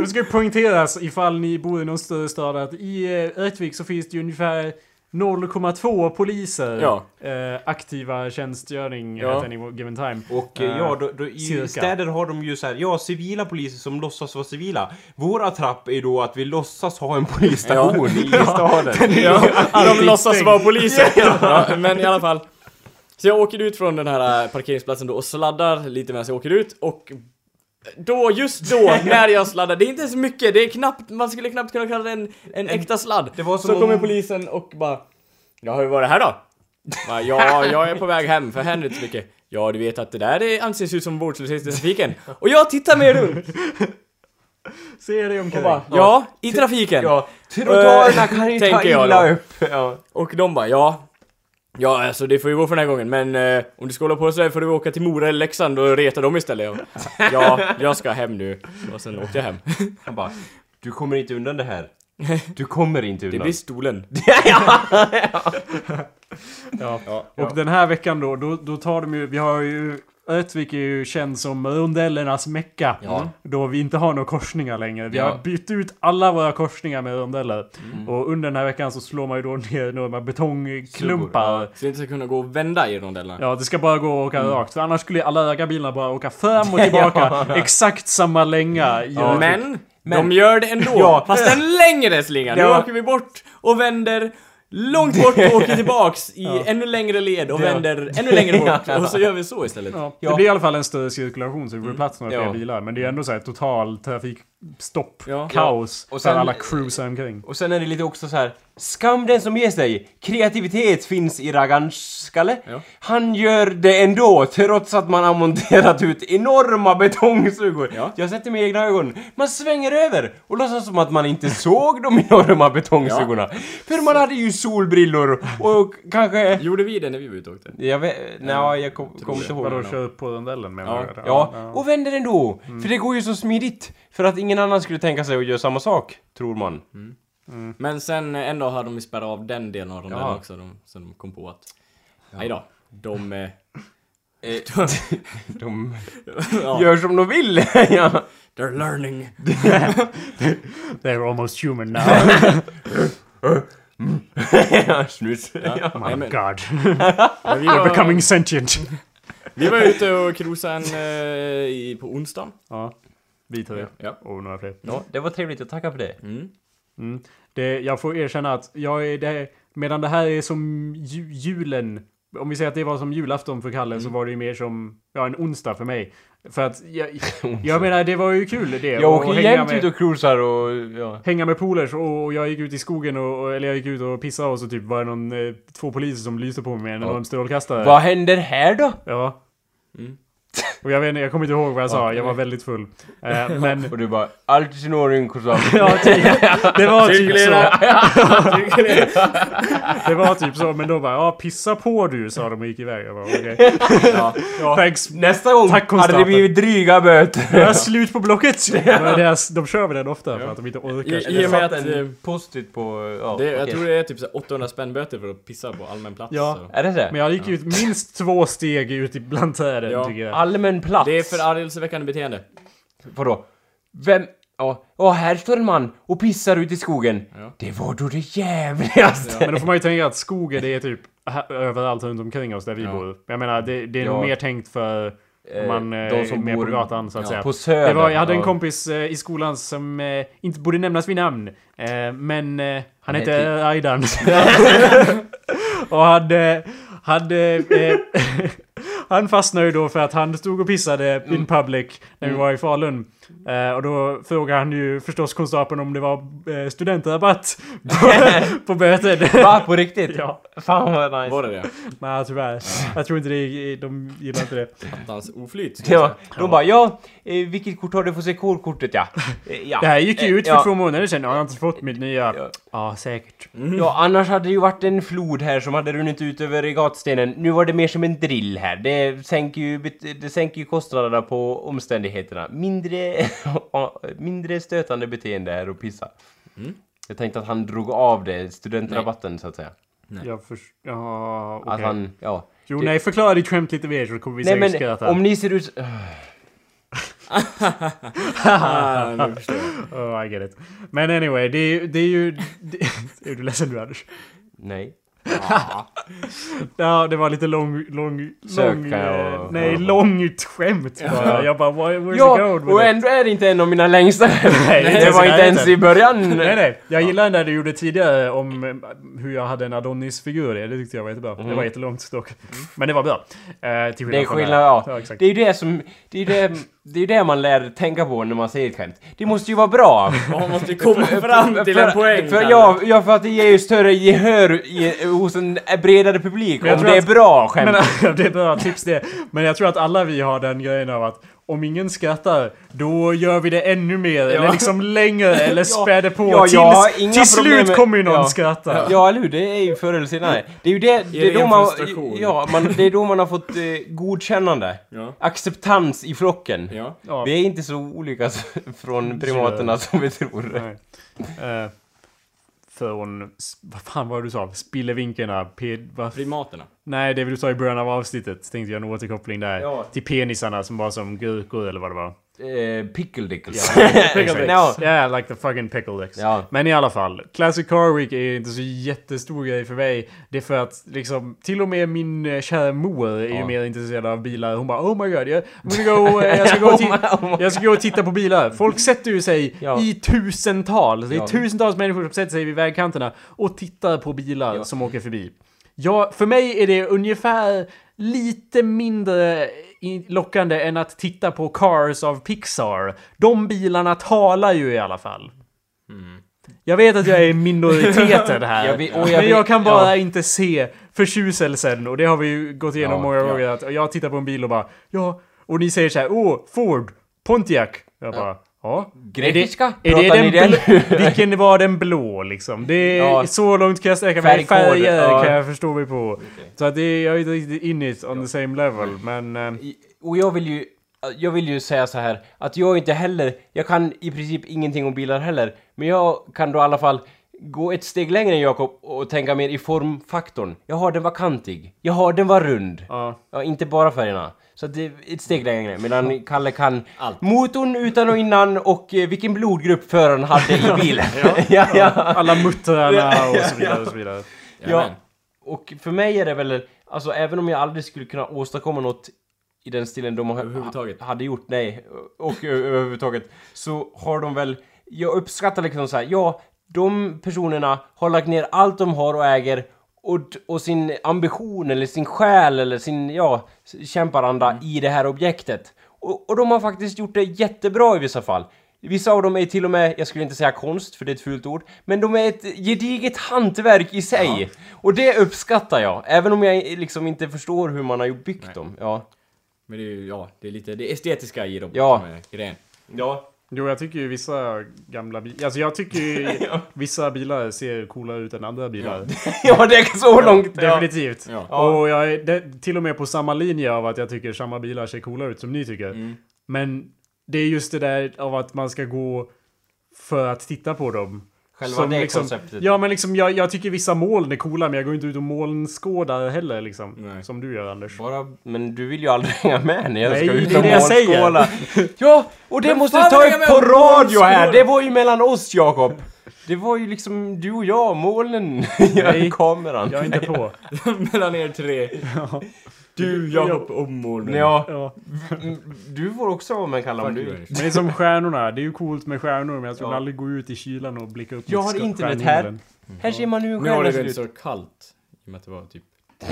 Speaker 1: Det ska ju poängteras ifall ni bor i någon större stad att i eh, Rättvik så finns det ju ungefär 0,2 poliser
Speaker 2: Ja.
Speaker 1: eh, aktiva tjänstgöring
Speaker 2: Ja.
Speaker 1: at any given time.
Speaker 3: Och eh, ja, då, då, i
Speaker 1: Cirka.
Speaker 3: städer har de ju så här, ja, civila poliser som låtsas vara civila. Vår attrapp är då att vi låtsas ha en polisstation i staden.
Speaker 2: Ja, de låtsas vara poliser. Ja, men i alla fall. Så jag åker ut från den här eh, parkeringsplatsen då och sladdar lite medan jag åker ut och då, just då, när jag sladdar, det är inte så mycket, det är knappt, man skulle knappt kunna kalla det en, en äkta sladd.
Speaker 3: det var som
Speaker 2: så
Speaker 3: om-
Speaker 2: kommer polisen och bara Ja, hur var det här då? Bara, ja, jag är på väg hem för här händer inte så mycket. Ja, du vet att det där är- anses ut som vårdslöshet i trafiken. Och jag tittar mig runt
Speaker 1: Ser det
Speaker 2: och
Speaker 1: omkring.
Speaker 2: bara, ja, i trafiken.
Speaker 3: Ja, trottoarerna kan ju ta
Speaker 2: tänker jag
Speaker 3: illa
Speaker 2: då.
Speaker 3: upp. Ja.
Speaker 2: Och de bara ja Ja alltså det får ju gå för den här gången men eh, om du ska hålla på sådär får du åka till Mora eller Leksand och reta dem istället. Och, ja, jag ska hem nu. Och sen åkte jag hem.
Speaker 3: Han bara, du kommer inte undan det här. Du kommer inte
Speaker 2: Det
Speaker 3: undan.
Speaker 2: blir stolen.
Speaker 1: Ja.
Speaker 2: Ja.
Speaker 1: Och den här veckan då, då, då tar de ju, vi har ju Ötvik är ju känd som rondellernas mecka.
Speaker 2: Ja. Mm.
Speaker 1: Då vi inte har några korsningar längre. Vi
Speaker 2: Ja. Mm.
Speaker 1: har bytt ut alla våra korsningar med rondeller. Och under den här veckan så slår man ju då ner några betongklumpar.
Speaker 2: Så jag inte ska kunna gå och vända i rondellerna.
Speaker 1: Ja, det ska bara gå att åka
Speaker 2: Mm.
Speaker 1: rakt. För annars skulle ju alla raggarbilarna bara åka fram och tillbaka. Exakt samma länga. i Örnsköldsvik.
Speaker 2: Men, de gör det ändå.
Speaker 3: Ja.
Speaker 2: Fast en längre slinga. Nu
Speaker 3: Ja.
Speaker 2: åker vi bort och vänder långt bort och åker tillbaks i ännu längre led och vänder ännu längre bort. Och så gör vi så istället.
Speaker 1: Ja,
Speaker 3: Ja.
Speaker 1: Det blir i alla fall en större cirkulation så det blir plats några
Speaker 2: Mm. Ja.
Speaker 1: fler bilar. Men det är ändå så här total trafikstopp,
Speaker 2: Ja.
Speaker 1: kaos.
Speaker 3: Ja. Och
Speaker 1: Och sen
Speaker 3: sen-
Speaker 1: alla cruisar omkring.
Speaker 3: Och sen är det lite också så här. skam den som ger sig. Kreativitet finns i raggarns skalle.
Speaker 2: Ja.
Speaker 3: Han gör det ändå, trots att man har monterat ut enorma betongsugor.
Speaker 2: Ja.
Speaker 3: Jag har sett det med egna ögon. Man svänger över och låtsas som att man inte såg de enorma betongsugorna. För man hade ju solbrillor och kanske...
Speaker 2: Gjorde vi det när vi var ute och åkte?
Speaker 3: Jag vet... Nej, jag kom- kommer inte ihåg.
Speaker 1: Vadå, kör upp på rondellen menar
Speaker 2: Ja. Mm.
Speaker 1: du? eller?
Speaker 3: Ja, och vänder ändå! För det går ju så smidigt. För att ingen annan skulle tänka sig att göra samma sak, tror man.
Speaker 2: Mm. Men sen eh, en dag hade de ju spärrat av den delen av rondellen
Speaker 3: Ja.
Speaker 2: också, de, så de kom på att... Nej då. De... eh,
Speaker 3: De
Speaker 2: ja.
Speaker 3: gör som de vill! ja.
Speaker 2: They're learning.
Speaker 1: They're almost human now.
Speaker 3: ja, snus. Ja.
Speaker 1: My
Speaker 2: Nej, men,
Speaker 1: Oh God.
Speaker 2: men vi,
Speaker 1: They're
Speaker 2: var,
Speaker 1: becoming sentient.
Speaker 2: vi var ute och cruisade en, eh, i, på onsdagen.
Speaker 1: ja, vi tre.
Speaker 2: Ja.
Speaker 1: Och några fler.
Speaker 3: det var trevligt att tacka för det.
Speaker 2: Mm.
Speaker 1: Mm. Det, jag får erkänna att jag är det, medan det här är som ju, julen om vi säger att det var som julafton för Kalle
Speaker 3: Mm.
Speaker 1: så var det ju mer som ja, en onsdag för mig. För att jag, jag menar, det var ju kul det.
Speaker 3: Jag
Speaker 1: och
Speaker 3: åker
Speaker 1: hänga
Speaker 3: jämt
Speaker 1: med-
Speaker 3: ut och cruisar och ja.
Speaker 1: hänga med polers och, och jag gick ut i skogen och, och eller jag gick ut och pissade och så typ var det någon, eh, två poliser som lyste på mig med en enorm strålkastare.
Speaker 3: Vad händer här då?
Speaker 1: Ja.
Speaker 2: Mm.
Speaker 1: Och jag vet inte, jag kommer inte ihåg vad jag sa, jag var väldigt full. Eh, men...
Speaker 3: Och du bara, allt i sin ordning Kusama.
Speaker 1: Ja, typ, det var typ så.
Speaker 2: Cirkulera.
Speaker 1: Det var typ så, men då bara ja pissa på du sa de och gick iväg. Jag bara okej. Thanks.
Speaker 3: Nästa gång
Speaker 1: Tack,
Speaker 3: hade det
Speaker 1: konstapeln.
Speaker 3: blivit dryga böter.
Speaker 1: Nu är jag slut på blocket! Men deras, de kör med den ofta för att de inte
Speaker 2: I-
Speaker 1: orkar.
Speaker 2: i- och med att, eh,
Speaker 3: post-it på... Ja,
Speaker 2: Det, jag
Speaker 3: okej.
Speaker 2: tror det är typ så här 800 spänn böter för att pissa på allmän plats.
Speaker 1: Ja.
Speaker 2: så.
Speaker 3: Är det det?
Speaker 1: Men jag gick ut minst två steg ut i- bland träden
Speaker 2: Ja. Ah,
Speaker 1: tycker jag.
Speaker 3: Allmän plats?
Speaker 2: Det är förargelseväckande beteende.
Speaker 3: Vadå? Vem... Ja, Åh, här står en man och pissar ut i skogen.
Speaker 2: Ja.
Speaker 3: Det var då det jävligaste!
Speaker 1: Men då får man ju tänka att skogen det är typ här, överallt runt omkring oss där vi
Speaker 2: Ja.
Speaker 1: bor. Jag menar det, det är nog
Speaker 3: Ja.
Speaker 1: mer tänkt för om
Speaker 3: Eh,
Speaker 1: man eh,
Speaker 3: de
Speaker 1: är
Speaker 3: som
Speaker 1: mer
Speaker 3: bor-
Speaker 1: på gatan så att
Speaker 2: ja,
Speaker 1: säga.
Speaker 3: På Söder.
Speaker 1: Det var, jag hade en
Speaker 3: ja.
Speaker 1: kompis eh, i skolan som eh, inte borde nämnas vid namn. Eh, men eh, han hette
Speaker 3: hette-
Speaker 1: Aidan. och han... Eh, han, eh, eh, han fastnade ju då för att han stod och pissade
Speaker 3: Mm.
Speaker 1: in public när vi var i Falun. Eh, och då frågade han ju förstås konstapeln om det var eh, studentrabatt på, på böten.
Speaker 3: Va? På riktigt?
Speaker 1: ja,
Speaker 3: Fan vad nice.
Speaker 2: Var det det?
Speaker 1: nej tyvärr. Jag tror inte det, de gillar inte det.
Speaker 2: Attans oflyt. ska jag
Speaker 3: Ja,
Speaker 2: säga.
Speaker 3: de bara ja, eh, vilket kort har du? Får se kortet ja. Eh, ja.
Speaker 1: Det här gick ju
Speaker 3: Eh,
Speaker 1: ut för
Speaker 3: ja.
Speaker 1: två månader sedan. Jag har inte fått mitt nya.
Speaker 3: Ja.
Speaker 1: Ja, säkert.
Speaker 3: Ja, annars hade det ju varit en flod här som hade runnit ut över gatstenen. Nu var det mer som en drill här. Det sänker ju, bet- det sänker ju kostnaderna på omständigheterna. Mindre, mindre stötande beteende är att pissa.
Speaker 1: Mm.
Speaker 3: Jag tänkte att han drog av det, studentrabatten så att säga.
Speaker 1: Jag förstår... Ja, okej.
Speaker 3: Att Alltså, han, ja.
Speaker 1: Jo,
Speaker 3: det-
Speaker 1: nej, förklara ditt skämt lite mer så kommer vi
Speaker 3: Nej
Speaker 1: säkert
Speaker 3: men
Speaker 1: skratta.
Speaker 3: om ni ser ut... Äh,
Speaker 2: Ah, nu förstår jag.
Speaker 1: Oh, I get it. Men anyway, det är ju... Det är, ju det... är du ledsen nu, Anders?
Speaker 3: Nej.
Speaker 1: Ja, det var lite lång... lång,
Speaker 3: Sök
Speaker 1: lång
Speaker 3: kan jag
Speaker 1: eh,
Speaker 3: och-
Speaker 1: nej,
Speaker 3: ja.
Speaker 1: långt skämt bara. Jag bara, where, where's the
Speaker 3: Ja,
Speaker 1: gold with
Speaker 3: och
Speaker 1: it?
Speaker 3: ändå är det inte en av mina längsta. Nej,
Speaker 1: inte
Speaker 3: det
Speaker 1: ens i
Speaker 3: var inte ens
Speaker 1: närheten.
Speaker 3: i början.
Speaker 1: Nej, nej. Jag gillar den där du gjorde tidigare om eh, hur jag hade en Adonis-figur i det. Det tyckte jag var jättebra. Det var jättelångt dock. Men det var bra. Eh, till
Speaker 3: Mm. Det är
Speaker 1: från
Speaker 3: skillnad,
Speaker 1: här.
Speaker 3: ja.
Speaker 1: ja exakt.
Speaker 3: Det är ju det som, det är ju det, det är ju det man lär tänka på när man säger ett skämt. Det måste ju vara bra!
Speaker 2: Man måste komma fram till en poäng.
Speaker 3: För,
Speaker 2: Kalle.
Speaker 3: ja, ja, för att det ger ju större gehör i, hos en bredare publik
Speaker 1: Men jag
Speaker 3: om
Speaker 1: tror
Speaker 3: det är
Speaker 1: att-
Speaker 3: bra skämt.
Speaker 1: Men, det är bra tips det. Men jag tror att alla vi har den grejen av att om ingen skrattar, då gör vi det ännu mer. Eller liksom längre, eller späder på.
Speaker 3: Ja, jag har
Speaker 1: tills
Speaker 3: inga
Speaker 1: till slut
Speaker 3: problem med-
Speaker 1: kommer ju någon
Speaker 3: Ja.
Speaker 1: skratta.
Speaker 3: Ja, eller hur? Det är ju förr eller senare. Det är ju det, det, är
Speaker 2: ren
Speaker 3: då man,
Speaker 2: frustration.
Speaker 3: ja, man, det är då man har fått eh, godkännande.
Speaker 2: Ja.
Speaker 3: Acceptans i flocken.
Speaker 2: Ja.
Speaker 1: Ja.
Speaker 3: Vi är inte så olika s- från primaterna som vi tror.
Speaker 1: Nej. Eh, från, s- vad fan var det du sa? Spillevinkarna? P, vad,
Speaker 2: Primaterna.
Speaker 1: nej, det vill du sa i början av avsnittet. Tänkte jag en återkoppling där.
Speaker 3: Ja.
Speaker 1: Till penisarna som var som gurkor eller vad det var.
Speaker 3: Eh, pickle dickles.
Speaker 1: Pickle
Speaker 3: Ja.
Speaker 1: dicks. Yeah, like the fucking pickle dicks.
Speaker 3: Ja.
Speaker 1: Men i alla fall, Classic Car Week är inte så jättestor grej för mig. Det är för att liksom, till och med min eh, kära mor är ju
Speaker 3: Ja.
Speaker 1: mer intresserad av bilar. Hon bara oh my god, jag, I'm gonna go, eh, jag, ska gå och ti-
Speaker 3: Oh
Speaker 1: jag ska gå och titta på bilar. Folk sätter ju sig
Speaker 3: Ja.
Speaker 1: i tusentals, det är
Speaker 3: Ja.
Speaker 1: tusentals människor som sätter sig vid vägkanterna och tittar på bilar
Speaker 3: Ja.
Speaker 1: som åker förbi. Ja, för mig är det ungefär lite mindre i- lockande än att titta på Cars av Pixar. De bilarna talar ju i alla fall. Jag vet att jag är i minoriteten här.
Speaker 3: Jag vet- Mm. och jag
Speaker 1: men jag
Speaker 3: vet-
Speaker 1: kan bara
Speaker 3: ja.
Speaker 1: inte se förtjuselsen. Och det har vi ju gått igenom
Speaker 3: Ja,
Speaker 1: många
Speaker 3: ja.
Speaker 1: gånger. Att jag tittar på en bil och bara ja. Och ni säger så här. Åh, Ford, Pontiac. Jag bara ja.
Speaker 3: Grekiska?
Speaker 1: Är det, är
Speaker 3: Pratar
Speaker 1: det
Speaker 3: ni
Speaker 1: den
Speaker 3: den?
Speaker 1: blå, vilken var den blå liksom? Det är
Speaker 3: Ja.
Speaker 1: så långt kan jag sträcka mig.
Speaker 3: Färgkod,
Speaker 1: Färger
Speaker 3: ja.
Speaker 1: kan jag förstå mig på. Så att det är, jag är inte riktigt in it on the same level. Men eh,
Speaker 3: I- Och jag vill ju, jag vill ju säga så här att jag inte heller, jag kan i princip ingenting om bilar heller, men jag kan då i alla fall gå ett steg längre än Jakob och tänka mer i formfaktorn. Jaha, den var kantig. Jaha, den var rund.
Speaker 1: ja.
Speaker 3: Ja, inte bara färgerna. Så att det är ett steg längre, medan Kalle kan
Speaker 2: Allt.
Speaker 3: motorn utan och innan och eh, vilken blodgrupp föraren hade i bilen. ja, ja.
Speaker 1: alla muttrarna och så vidare och så vidare.
Speaker 3: Ja,
Speaker 2: Jajamän.
Speaker 3: och för mig är det väl, alltså även om jag aldrig skulle kunna åstadkomma något i den stilen de
Speaker 2: Överhuvudtaget.
Speaker 3: ha- hade gjort, nej, och ö- överhuvudtaget, så har de väl, jag uppskattar liksom så här, ja, de personerna har lagt ner allt de har och äger och, och sin ambition eller sin själ eller sin, ja, kämparanda i det här objektet. Och, och de har faktiskt gjort det jättebra i vissa fall. Vissa av dem är till och med, jag skulle inte säga konst för det är ett fult ord, men de är ett gediget hantverk i sig. Och det uppskattar jag, även om jag liksom inte förstår hur man har ju byggt dem. Ja.
Speaker 2: Men det är ju, ja, det är lite det estetiska i dem
Speaker 3: Ja.
Speaker 2: som är grejen.
Speaker 3: ja.
Speaker 1: Jo, jag tycker ju vissa gamla bilar... Alltså jag tycker ju vissa bilar ser coolare ut än andra bilar.
Speaker 3: Ja, det är så långt. Ja.
Speaker 1: Definitivt.
Speaker 2: Ja.
Speaker 1: Och jag är de, till och med på samma linje av att jag tycker samma bilar ser coola ut som ni tycker.
Speaker 3: Mm.
Speaker 1: Men det är just det där av att man ska gå för att titta på dem.
Speaker 3: Själva
Speaker 1: Som
Speaker 3: det
Speaker 1: liksom,
Speaker 3: konceptet.
Speaker 1: Ja, men liksom jag, jag tycker vissa moln är coola, men jag går inte ut och molnskådar heller liksom.
Speaker 2: Nej.
Speaker 1: Som du gör Anders.
Speaker 3: Bara, men du vill ju aldrig hänga med när jag
Speaker 1: Nej,
Speaker 3: ska
Speaker 1: det
Speaker 3: ut
Speaker 1: är
Speaker 3: och
Speaker 1: det jag säger.
Speaker 3: målskåla. Ja, och det
Speaker 2: Men
Speaker 3: måste
Speaker 2: fan,
Speaker 3: vi ta
Speaker 2: hänga
Speaker 3: upp
Speaker 2: med
Speaker 3: på
Speaker 2: och
Speaker 3: radio här.
Speaker 2: målskåla.
Speaker 3: Det var ju mellan oss, Jakob. Det var ju liksom du och jag, molnen, i
Speaker 1: Nej.
Speaker 3: kameran.
Speaker 1: Jag är inte på.
Speaker 2: Mellan er tre. Du, Jakob och Molnen.
Speaker 3: Ja,
Speaker 1: Ja.
Speaker 3: mm, du får också vara med, Kalle, om
Speaker 2: Fuck you,
Speaker 3: du...
Speaker 2: Eric.
Speaker 1: Men som stjärnorna, det är ju coolt med stjärnor men jag skulle
Speaker 3: Ja.
Speaker 1: aldrig gå ut i kylan och blicka upp
Speaker 3: Jag
Speaker 1: mot
Speaker 3: har
Speaker 1: sk-
Speaker 3: internet
Speaker 1: stjärnhimlen.
Speaker 3: här. Här ser man nu hur
Speaker 2: Nu har
Speaker 3: stjärnan
Speaker 2: det
Speaker 3: ser
Speaker 2: väl
Speaker 3: ut.
Speaker 2: så kallt. I och med att det var typ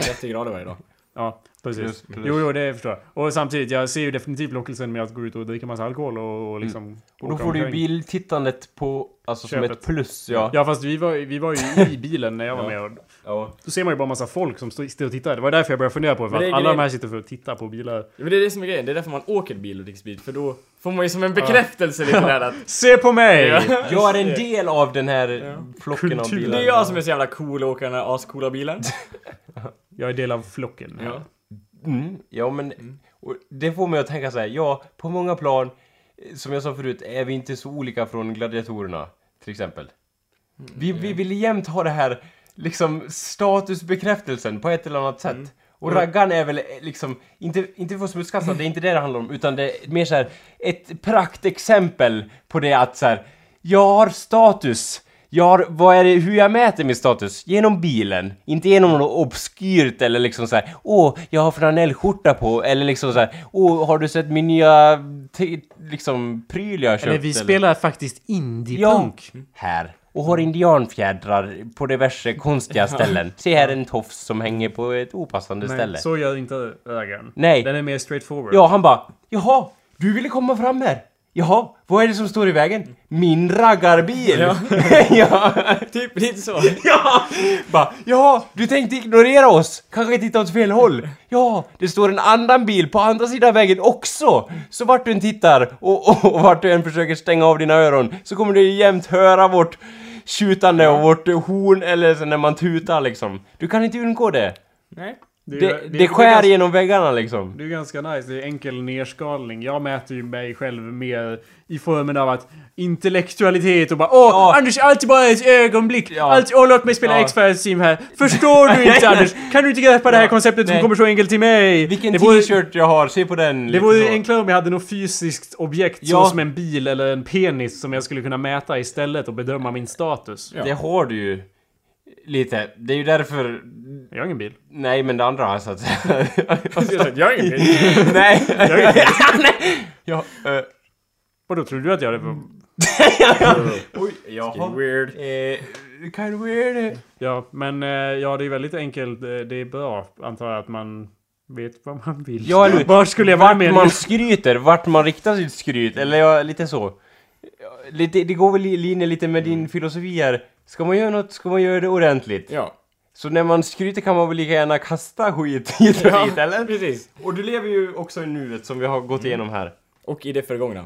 Speaker 2: 30 grader varje dag.
Speaker 1: Ja, precis.
Speaker 3: Plus, plus.
Speaker 1: Jo, jo, det förstår jag. Och samtidigt, jag ser ju definitivt lockelsen med att gå ut och dricka massa alkohol och, och liksom...
Speaker 3: Mm. Och då
Speaker 1: åka
Speaker 3: får du ju
Speaker 1: omkring.
Speaker 3: biltittandet på, alltså som
Speaker 1: Köpet.
Speaker 3: ett plus, ja.
Speaker 1: Ja, fast vi var, vi var ju i bilen när jag var med och
Speaker 3: Ja.
Speaker 1: då ser man ju bara massa folk som står står och tittar. Det var därför jag började fundera på det, för
Speaker 2: Men det
Speaker 1: att
Speaker 2: är
Speaker 1: alla
Speaker 2: grejen.
Speaker 1: de här sitter för att titta på bilar.
Speaker 2: Ja, Men det är det som är grejen, det är därför man åker bil och dricker sprit. För då får man ju som en bekräftelse lite där att
Speaker 1: Se på mig!
Speaker 3: Jag är en del av den här flocken av
Speaker 1: Kultur.
Speaker 2: det är
Speaker 3: bilar.
Speaker 2: jag som är så jävla cool och åker den här ascoola bilen.
Speaker 1: Jag är del av flocken.
Speaker 2: Ja.
Speaker 3: Mm, ja, men och det får mig att tänka så här. Ja, på många plan, eh, som jag sa förut, är vi inte så olika från gladiatorerna, till exempel. Vi, vi vill jämt ha det här, liksom, statusbekräftelsen på ett eller annat
Speaker 1: Mm.
Speaker 3: sätt. Och raggan är väl eh, liksom, inte, inte för smutskastad, det är inte det det handlar om, utan det är mer så här, ett praktexempel på det att så här, jag har status. Jag har, vad är det, hur jag mäter min status? Genom bilen. Inte genom något obskyrt eller liksom så här. åh, jag har flanellskjorta på, eller liksom så här. åh, har du sett min nya, te- liksom, pryl jag har köpt?
Speaker 1: Eller vi spelar faktiskt indie-punk.
Speaker 3: Ja, här. Och har indianfjädrar på diverse konstiga ställen. Se här en tofs som hänger på ett opassande ställe.
Speaker 1: Nej, så gör inte ögon.
Speaker 3: Nej.
Speaker 1: Den är mer straightforward.
Speaker 3: Ja, han bara, jaha, du ville komma fram här. Jaha, vad är det som står i vägen? Min raggarbil! Ja. ja.
Speaker 2: Typ lite så.
Speaker 3: Ja! Bara, ja, du tänkte ignorera oss, kanske titta åt fel håll. Ja, det står en annan bil på andra sidan vägen också. Så vart du än tittar och, och, och vart du än försöker stänga av dina öron så kommer du jämt höra vårt tjutande och vårt horn eller så när man tutar liksom. Du kan inte undgå det.
Speaker 2: Nej.
Speaker 1: det, är-
Speaker 3: Det,
Speaker 1: är-
Speaker 3: det skär
Speaker 1: ganska-
Speaker 3: genom väggarna liksom.
Speaker 1: Det är ganska nice, det är enkel nerskalning. Jag mäter ju mig själv mer i formen av att intellektualitet och bara Åh,
Speaker 3: Ja.
Speaker 1: Anders, allt är bara ett ögonblick.
Speaker 3: Ja.
Speaker 1: Allt, åh, låt mig spela
Speaker 3: Ja.
Speaker 1: X-Files Sim här. Förstår du inte Anders? Kan du inte greppa det här konceptet
Speaker 3: Nej.
Speaker 1: som kommer så enkelt till mig?
Speaker 3: Vilken
Speaker 1: det vore,
Speaker 3: t-shirt jag har, se på den!
Speaker 1: det
Speaker 3: lite
Speaker 1: vore
Speaker 3: så.
Speaker 1: enklare om jag hade något fysiskt objekt
Speaker 3: Ja.
Speaker 1: så som en bil eller en penis som jag skulle kunna mäta istället och bedöma min status.
Speaker 2: Ja.
Speaker 3: Det har du ju. Lite. Det är ju därför...
Speaker 1: Jag har ingen bil.
Speaker 3: Nej, men det andra har jag satt.
Speaker 2: Jag har ingen bil.
Speaker 3: Nej.
Speaker 1: Jag har ingen bil.
Speaker 3: Ja, eh,
Speaker 1: Vadå, tror du att jag hade...
Speaker 3: oj, jaha.
Speaker 2: Weird.
Speaker 3: Eh, kind of weird.
Speaker 1: Ja, men eh, ja, det är väldigt enkelt. Eh, Det är bra, antar jag, att man vet vad man vill.
Speaker 3: Ja, eller hur?
Speaker 1: Var skulle jag vara med?
Speaker 3: Vart man skryter, vart man riktar sitt skryt, eller ja, lite så. Ja, Lite, det går väl i linje lite med din filosofi här. Ska man göra något ska man göra det ordentligt.
Speaker 2: Ja.
Speaker 3: Så när man skryter kan man väl lika gärna kasta skit hit och dit, eller?
Speaker 2: Precis.
Speaker 3: Och du lever ju också i nuet som vi har gått igenom här.
Speaker 2: Och i det förgångna.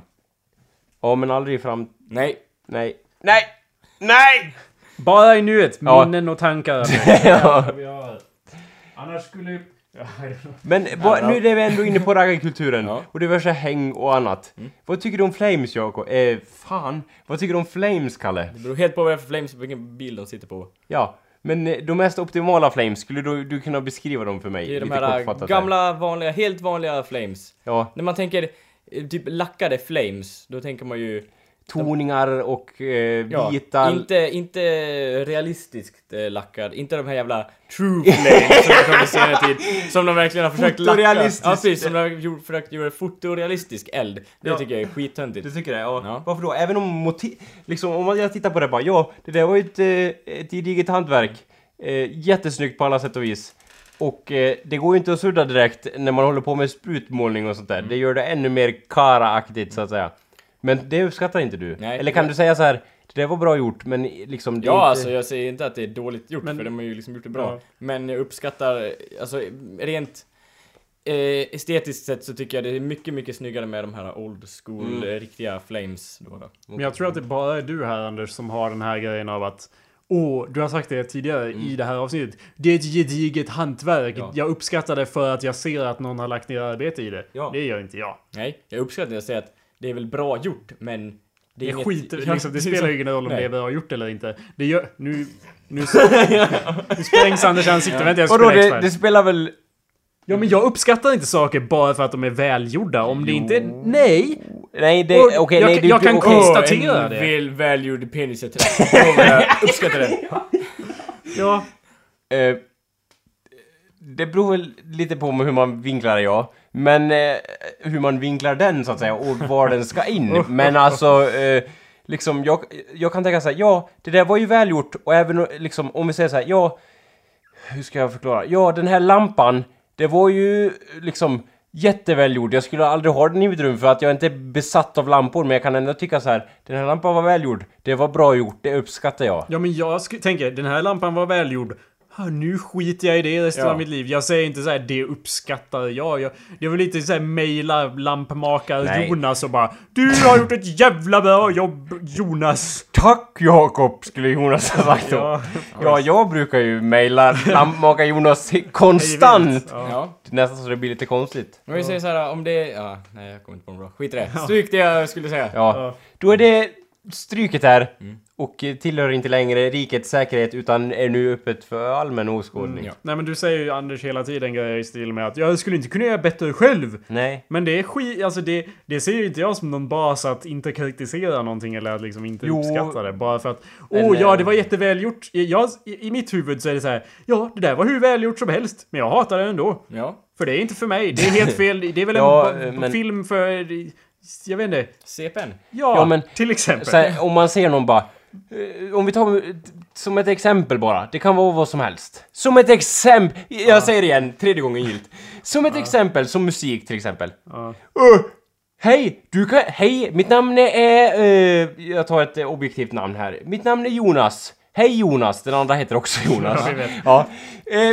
Speaker 3: Ja, men aldrig fram...
Speaker 2: Nej.
Speaker 3: Nej. Nej! Nej!
Speaker 1: Bara i nuet,
Speaker 3: Ja.
Speaker 1: minnen och tankar.
Speaker 3: ja.
Speaker 1: Annars skulle...
Speaker 3: Men vad- nu är vi ändå inne på raggarkulturen
Speaker 2: Ja. Mm.
Speaker 3: och diverse häng och annat. Vad tycker du om Flames, Jakob? Eh, fan. Vad tycker du om Flames, Kalle?
Speaker 2: Det beror helt på vad det är för flames och vilken bil de sitter på.
Speaker 3: Ja, men eh, de mest optimala Flames, skulle du, du kunna beskriva dem för mig?
Speaker 2: Det är de
Speaker 3: Lite kortfattat
Speaker 2: här eh,
Speaker 3: här.
Speaker 2: gamla, vanliga, helt vanliga flames.
Speaker 3: Ja,
Speaker 2: När man tänker eh, typ lackade flames, då tänker man ju...
Speaker 3: toningar och eh,
Speaker 2: Ja,
Speaker 3: vita...
Speaker 2: inte, inte realistiskt eh, lackad. Inte de här jävla true flames som har kommit på senare tid. Som de verkligen har försökt lacka.
Speaker 3: Fotorealistiskt.
Speaker 2: Ja, precis, som de har gjort, försökt göra fotorealistisk eld. Det tycker jag är skittöntigt.
Speaker 3: Du tycker det? Ja.
Speaker 2: Ja.
Speaker 3: Varför då? Även om motiv... Liksom, om jag tittar på det bara, ja, det där var ju ett, eh, ett gediget hantverk. Eh, jättesnyggt på alla sätt och vis. Och eh, det går ju inte att sudda direkt när man håller på med sprutmålning och sånt där. Det gör det ännu mer karaaktigt så att säga. Men det uppskattar inte du?
Speaker 2: Nej.
Speaker 3: Eller kan du säga så här, det där var bra gjort men liksom... Det är
Speaker 2: Ja,
Speaker 3: inte...
Speaker 2: alltså jag säger inte att det är dåligt gjort,
Speaker 1: Men-
Speaker 2: för de har ju liksom gjort det bra.
Speaker 1: Ja.
Speaker 2: Men jag uppskattar, alltså rent eh, estetiskt sett så tycker jag det är mycket, mycket snyggare med de här old school,
Speaker 3: Mm.
Speaker 2: eh, riktiga flames. Då, då.
Speaker 1: Men jag tror att det bara är du här Anders som har den här grejen av att Åh, du har sagt det tidigare i det här avsnittet. Det är ett gediget hantverk.
Speaker 2: Ja.
Speaker 1: Jag uppskattar det för att jag ser att någon har lagt ner arbete i det.
Speaker 2: Ja.
Speaker 1: Det gör inte jag.
Speaker 2: Nej, jag uppskattar när jag säger att det är väl bra gjort, men det är
Speaker 1: Jag
Speaker 2: inget...
Speaker 1: skiter liksom, det spelar ju ingen roll om
Speaker 2: Nej.
Speaker 1: det är bra gjort eller inte. Det gör... Nu... Nu, nu sprängs Anders ansikte. Vänta, jag ska
Speaker 3: Vadå,
Speaker 1: spela
Speaker 3: det,
Speaker 1: expert.
Speaker 3: det spelar väl...
Speaker 1: Ja, men jag uppskattar inte saker bara för att de är välgjorda. Om det inte... är- Nej!
Speaker 3: Nej, det...
Speaker 1: Och
Speaker 3: Okej,
Speaker 1: jag
Speaker 3: nej,
Speaker 1: kan-
Speaker 3: det,
Speaker 1: jag
Speaker 3: det-
Speaker 1: kan
Speaker 3: okej.
Speaker 1: konstatera-
Speaker 2: Åh,
Speaker 1: Statera
Speaker 2: en
Speaker 1: det.
Speaker 2: väl, välgjord penis jag träffade. Åh, vad jag uppskattar det.
Speaker 1: Ja.
Speaker 3: Eh, det beror väl lite på hur man vinklar det, ja. Men eh, hur man vinklar den, så att säga, och var den ska in. Men alltså, eh, liksom, jag, jag kan tänka så här, ja, det där var ju välgjort. Och även o- liksom, om vi säger så här, ja, hur ska jag förklara? Ja, den här lampan, det var ju liksom jättevälgjord. Jag skulle aldrig ha den i mitt rum för att jag inte är besatt av lampor. Men jag kan ändå tycka så här, den här lampan var välgjord. Det var bra gjort, det uppskattar jag.
Speaker 1: Ja, men jag sku- tänker, den här lampan var välgjord. Ah, nu skiter jag i det resten
Speaker 2: Ja.
Speaker 1: av mitt liv. Jag säger inte så här, det uppskattar jag. jag det var lite så här, mejla lampmakare
Speaker 3: Nej.
Speaker 1: Jonas och bara Du har gjort ett jävla bra jobb Jonas!
Speaker 3: Tack Jakob, skulle Jonas ha sagt då. Ja, jag brukar ju mejla lampmakare Jonas konstant.
Speaker 2: Ja.
Speaker 3: Det är nästan så det blir lite konstigt.
Speaker 2: Men vi säger så här om det... Ja, nej jag kommer inte på något bra. Skit i det. Stryk det jag skulle säga.
Speaker 3: Ja. Då är det stryket här. Och eh, tillhör inte längre rikets säkerhet utan är nu öppet för allmän åskådning.
Speaker 2: Mm, ja.
Speaker 1: Nej men du säger ju Anders hela tiden grejer i stil med att jag skulle inte kunna göra bättre själv.
Speaker 3: Nej.
Speaker 1: Men det är skit, alltså det, det ser ju inte jag som någon bas att inte kritisera någonting eller att liksom inte
Speaker 3: Jo.
Speaker 1: uppskatta det. Bara för att, åh
Speaker 3: Men, eh,
Speaker 1: ja det var jättevälgjort. Jag, i, I mitt huvud så är det så här, ja det där var hur välgjort som helst, men jag hatar det ändå.
Speaker 2: Ja.
Speaker 1: För det är inte för mig, det är helt fel. Det är väl
Speaker 3: Ja, eh,
Speaker 1: en b-
Speaker 3: men-
Speaker 1: film för, jag vet inte.
Speaker 2: CPN.
Speaker 1: Ja,
Speaker 3: Ja, men-
Speaker 1: till exempel.
Speaker 3: Så här, om man ser någon bara... eh, Om vi tar eh, som ett exempel bara. Det kan vara vad som helst. Som ett exempel. Jag säger det igen, tredje gången gillt. Som ett exempel, som musik till exempel.
Speaker 1: Ja.
Speaker 3: Öh! Hej! Du kan... Hej! Mitt namn är... eh, jag tar ett eh, objektivt namn här. Mitt namn är Jonas. Hej Jonas! Den andra heter också Jonas.
Speaker 1: Ja, vi vet.
Speaker 3: Ja. Eh,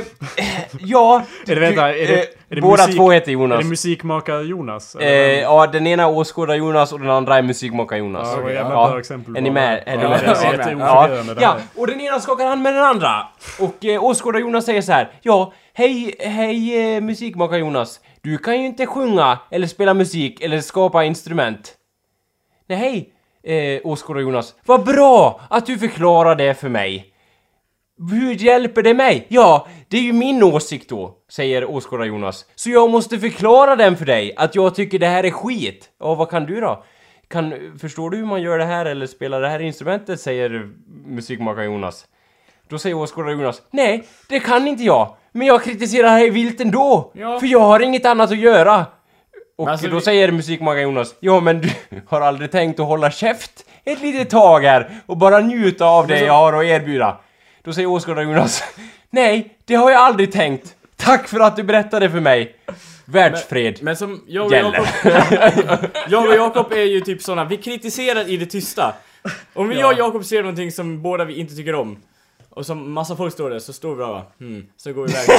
Speaker 3: eh, ja.
Speaker 1: Är det, vänta,
Speaker 3: du-
Speaker 1: är det,
Speaker 3: eh,
Speaker 1: är det
Speaker 3: båda
Speaker 1: musik-
Speaker 3: två heter
Speaker 1: Är
Speaker 3: Jonas.
Speaker 1: det musikmakare Jonas?
Speaker 3: Eh, ja, den ena är åskådare Jonas och den andra är musikmakare Jonas.
Speaker 1: Ja, det var ett jävla bra exempel
Speaker 3: Är ni
Speaker 1: på
Speaker 3: med?
Speaker 1: det.
Speaker 3: Är
Speaker 1: Ja,
Speaker 3: du med?
Speaker 1: det är
Speaker 3: Ja.
Speaker 1: jätteoförvirrande
Speaker 3: ja.
Speaker 1: det
Speaker 3: ja,
Speaker 1: här.
Speaker 3: och den ena skakar hand med den andra. Och eh, åskådare Jonas säger så här. Ja, hej, hej eh, musikmakare Jonas. Du kan ju inte sjunga eller spela musik eller skapa instrument. Nej, hej, eh, åskådare Jonas. Vad bra att du förklarar det för mig. Hur hjälper det mig? Ja, det är ju min åsikt då, säger åskådare Jonas. Så jag måste förklara den för dig, att jag tycker det här är skit. Ja, vad kan du då? Kan, förstår du hur man gör det här eller spelar det här instrumentet, säger musikmakare Jonas. Då säger åskådare Jonas, nej, det kan inte jag. Men jag kritiserar här vilt ändå,
Speaker 2: Ja.
Speaker 3: för jag har inget annat att göra. Och
Speaker 2: Men alltså,
Speaker 3: då
Speaker 2: vi-
Speaker 3: säger musikmakaren Jonas, ja men du har aldrig tänkt att hålla käft ett litet tag här och bara njuta av det jag har att erbjuda. Då säger åskådare Jonas, nej, det har jag aldrig tänkt. Tack för att du berättade för mig. Världsfred.
Speaker 2: Men som jag och
Speaker 3: Gäller.
Speaker 2: Jakob... jag och
Speaker 3: eh,
Speaker 2: Jakob är ju typ såna, vi kritiserar i det tysta. Om vi, jag och Jakob ser någonting som båda vi inte tycker om och som massa folk står där så står vi där och bara hmm, så går vi iväg och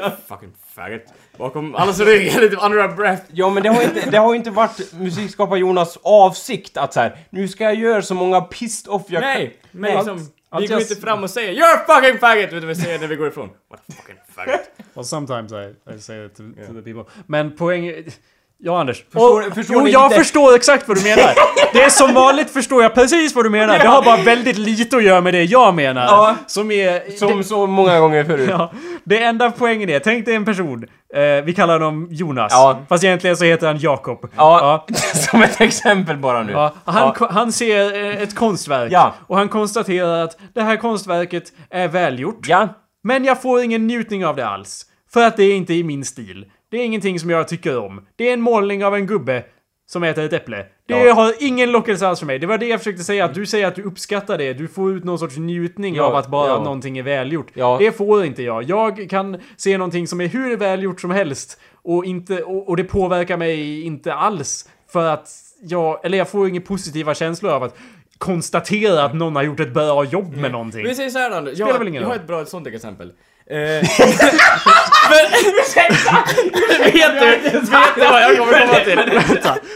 Speaker 2: bara, fucking faggot. Bakom allas rygg, eller typ under our breath.
Speaker 3: Ja men det har inte, det har inte varit musikskapare Jonas avsikt att så här, nu ska jag göra så många pissed off jag
Speaker 2: Nej!
Speaker 3: kan.
Speaker 2: Men liksom, vi
Speaker 3: allt
Speaker 2: går
Speaker 3: jag-
Speaker 2: inte fram och säger 'You're a fucking faggot' vet du vad vi säger när vi går ifrån? What a fucking faggot.
Speaker 1: Well, sometimes I, I say it to, to the people. Men poäng... Ja, Anders.
Speaker 3: Förstår-
Speaker 1: Och-
Speaker 3: förstår
Speaker 1: jo,
Speaker 3: ni
Speaker 1: jag
Speaker 3: inte?
Speaker 1: förstår exakt vad du menar. Det är som vanligt förstår jag precis vad du menar. Det har bara väldigt lite att göra med det jag menar.
Speaker 3: Ja.
Speaker 1: Som är...
Speaker 3: Som så många gånger förut.
Speaker 1: Ja, det enda poängen är, tänk dig en person, eh, vi kallar honom Jonas,
Speaker 3: Ja.
Speaker 1: fast egentligen så heter han Jakob.
Speaker 3: Ja, som ett exempel bara nu.
Speaker 1: Ja, han, han ser eh, ett konstverk
Speaker 3: Ja.
Speaker 1: och han konstaterar att det här konstverket är välgjort.
Speaker 3: ja.
Speaker 1: Men jag får ingen njutning av det alls. För att det är inte i min stil. Det är ingenting som jag tycker om. Det är en målning av en gubbe. som äter ett äpple. Det
Speaker 2: Ja.
Speaker 1: har ingen lockelse alls för mig. Det var det jag försökte säga, att du säger att du uppskattar det. Du får ut någon sorts njutning
Speaker 2: Ja,
Speaker 1: av att bara
Speaker 2: ja.
Speaker 1: någonting är välgjort.
Speaker 2: Ja.
Speaker 1: Det får inte jag. Jag kan se någonting som är hur välgjort som helst och, inte, och, och det påverkar mig inte alls. För att jag, eller jag får inga positiva känslor av att konstatera att någon har gjort ett bra jobb med någonting.
Speaker 2: Mm. Men vi säger såhär Anders, jag,
Speaker 1: Spelar väl ingen
Speaker 2: jag har
Speaker 1: roll.
Speaker 2: ett bra ett sånt exempel. Eh,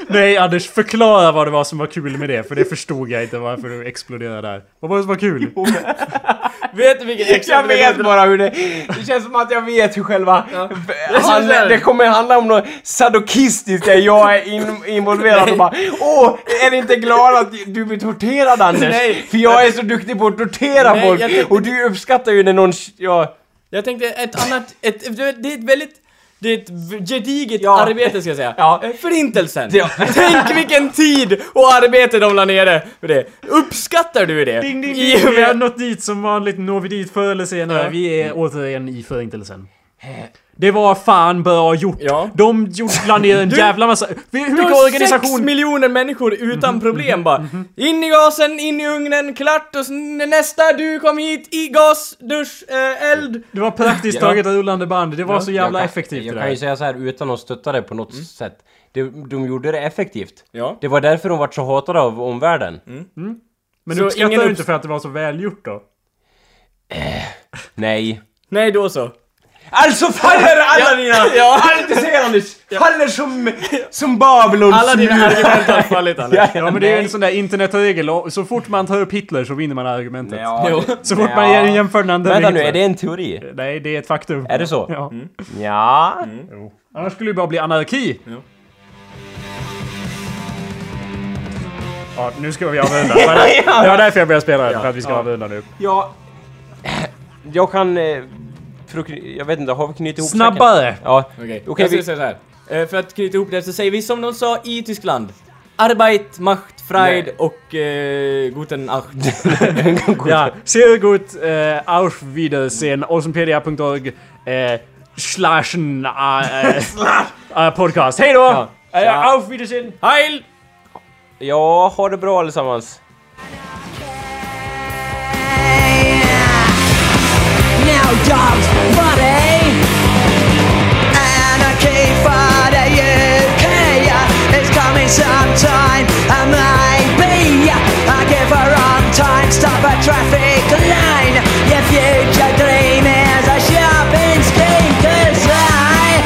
Speaker 1: Nej Anders, förklara vad det var som var kul med det, för det förstod jag inte varför du exploderade där. Vad var det som var kul?
Speaker 2: vet du vilket
Speaker 3: Jag
Speaker 2: exempel
Speaker 3: vet bara hur det... Det känns som att jag vet hur själva... Han,
Speaker 2: så här.
Speaker 3: det kommer handla om något sadokistiskt där jag är in, involverad och bara Åh, är ni inte glada att du blir torterad Anders?
Speaker 2: Nej.
Speaker 3: För jag är så duktig på att tortera
Speaker 2: Nej,
Speaker 3: folk
Speaker 2: jag tänkte-
Speaker 3: och du uppskattar ju när någon... Ja,
Speaker 2: Jag tänkte ett annat, ett, det är ett väldigt det är ett v- gediget
Speaker 3: Ja.
Speaker 2: arbete ska jag säga.
Speaker 3: Ja.
Speaker 2: Eh, Förintelsen!
Speaker 3: Ja.
Speaker 2: Tänk vilken tid och arbete de la nere för det. Uppskattar du det?
Speaker 1: Ding, ding,
Speaker 2: I
Speaker 1: ding.
Speaker 2: och
Speaker 1: Vi har
Speaker 2: med-
Speaker 1: nått dit som vanligt, når vi dit förr eller senare. Vi är återigen i förintelsen. Det var fan bra gjort.
Speaker 2: Ja.
Speaker 1: De gjorde, la ner en jävla massa... Hur
Speaker 2: Det
Speaker 1: mycket
Speaker 2: var sex
Speaker 1: organisation... Mm-hmm.
Speaker 2: miljoner människor utan problem bara. In i gasen, in i ugnen, klart och s- nästa, du kom hit i gas, dusch, eh, eld.
Speaker 1: Det var praktiskt
Speaker 4: Ja.
Speaker 1: taget rullande band. Det var så jävla
Speaker 4: jag kan,
Speaker 1: effektivt
Speaker 4: Jag
Speaker 1: det
Speaker 4: kan ju
Speaker 1: där.
Speaker 4: säga
Speaker 1: Mm.
Speaker 4: så här utan att stötta det på något sätt. De, de gjorde det effektivt.
Speaker 2: Ja.
Speaker 4: Det var därför de vart så hatade av omvärlden.
Speaker 1: Mm. Men
Speaker 2: Så
Speaker 1: du uppskattar
Speaker 2: ingen
Speaker 1: du
Speaker 2: upps-
Speaker 1: inte för att det var så välgjort då?
Speaker 4: Eh, Nej.
Speaker 2: Nej, då så.
Speaker 3: Alltså faller alla dina...
Speaker 2: Ja.
Speaker 3: Allt du säger Anders! Faller som, som Babylons
Speaker 2: Alla dina argument har fallit Alex.
Speaker 1: Ja men det är ju en sån där internetregel. Och Så fort man tar upp Hitler så vinner man argumentet.
Speaker 4: Ja,
Speaker 2: Jo.
Speaker 4: det-
Speaker 1: Så fort
Speaker 4: ja.
Speaker 1: man jämför den andra med
Speaker 4: Vänta nu,
Speaker 1: Hitler.
Speaker 4: är det en teori?
Speaker 1: Nej, det är ett faktum.
Speaker 4: Är det så? Mm.
Speaker 1: Ja.
Speaker 4: Ja.
Speaker 2: Mm.
Speaker 1: Annars skulle det bara bli anarki. Ja. nu ska vi avrunda. Det var där- det var därför jag började spela den, för att vi ska avrunda nu.
Speaker 4: Ja. Jag kan... eh, fruk- Jag vet inte, har vi knutit ihop säcken?
Speaker 1: Snabbare!
Speaker 4: Ja.
Speaker 2: Okej,
Speaker 4: Okej,
Speaker 2: jag ska
Speaker 4: vi-
Speaker 2: säga så här. Eh, För att knyta ihop det så säger vi som de sa i Tyskland. Arbeit, Macht, Freud och eh, Guten Acht.
Speaker 1: Ja, sehr gut. eh, auf Wiedersehen. Awesomepedia.org eh, slashen eh, eh, podcast. Hej då! Eh,
Speaker 4: Ja.
Speaker 1: auf Wiedersehen!
Speaker 2: Heil!
Speaker 4: Ja, ha det bra allesammans.
Speaker 5: Now dogs Friday Anarchy for the UK It's coming sometime And maybe I give her on time Stop a traffic line Your future dream is a shopping scheme Cause I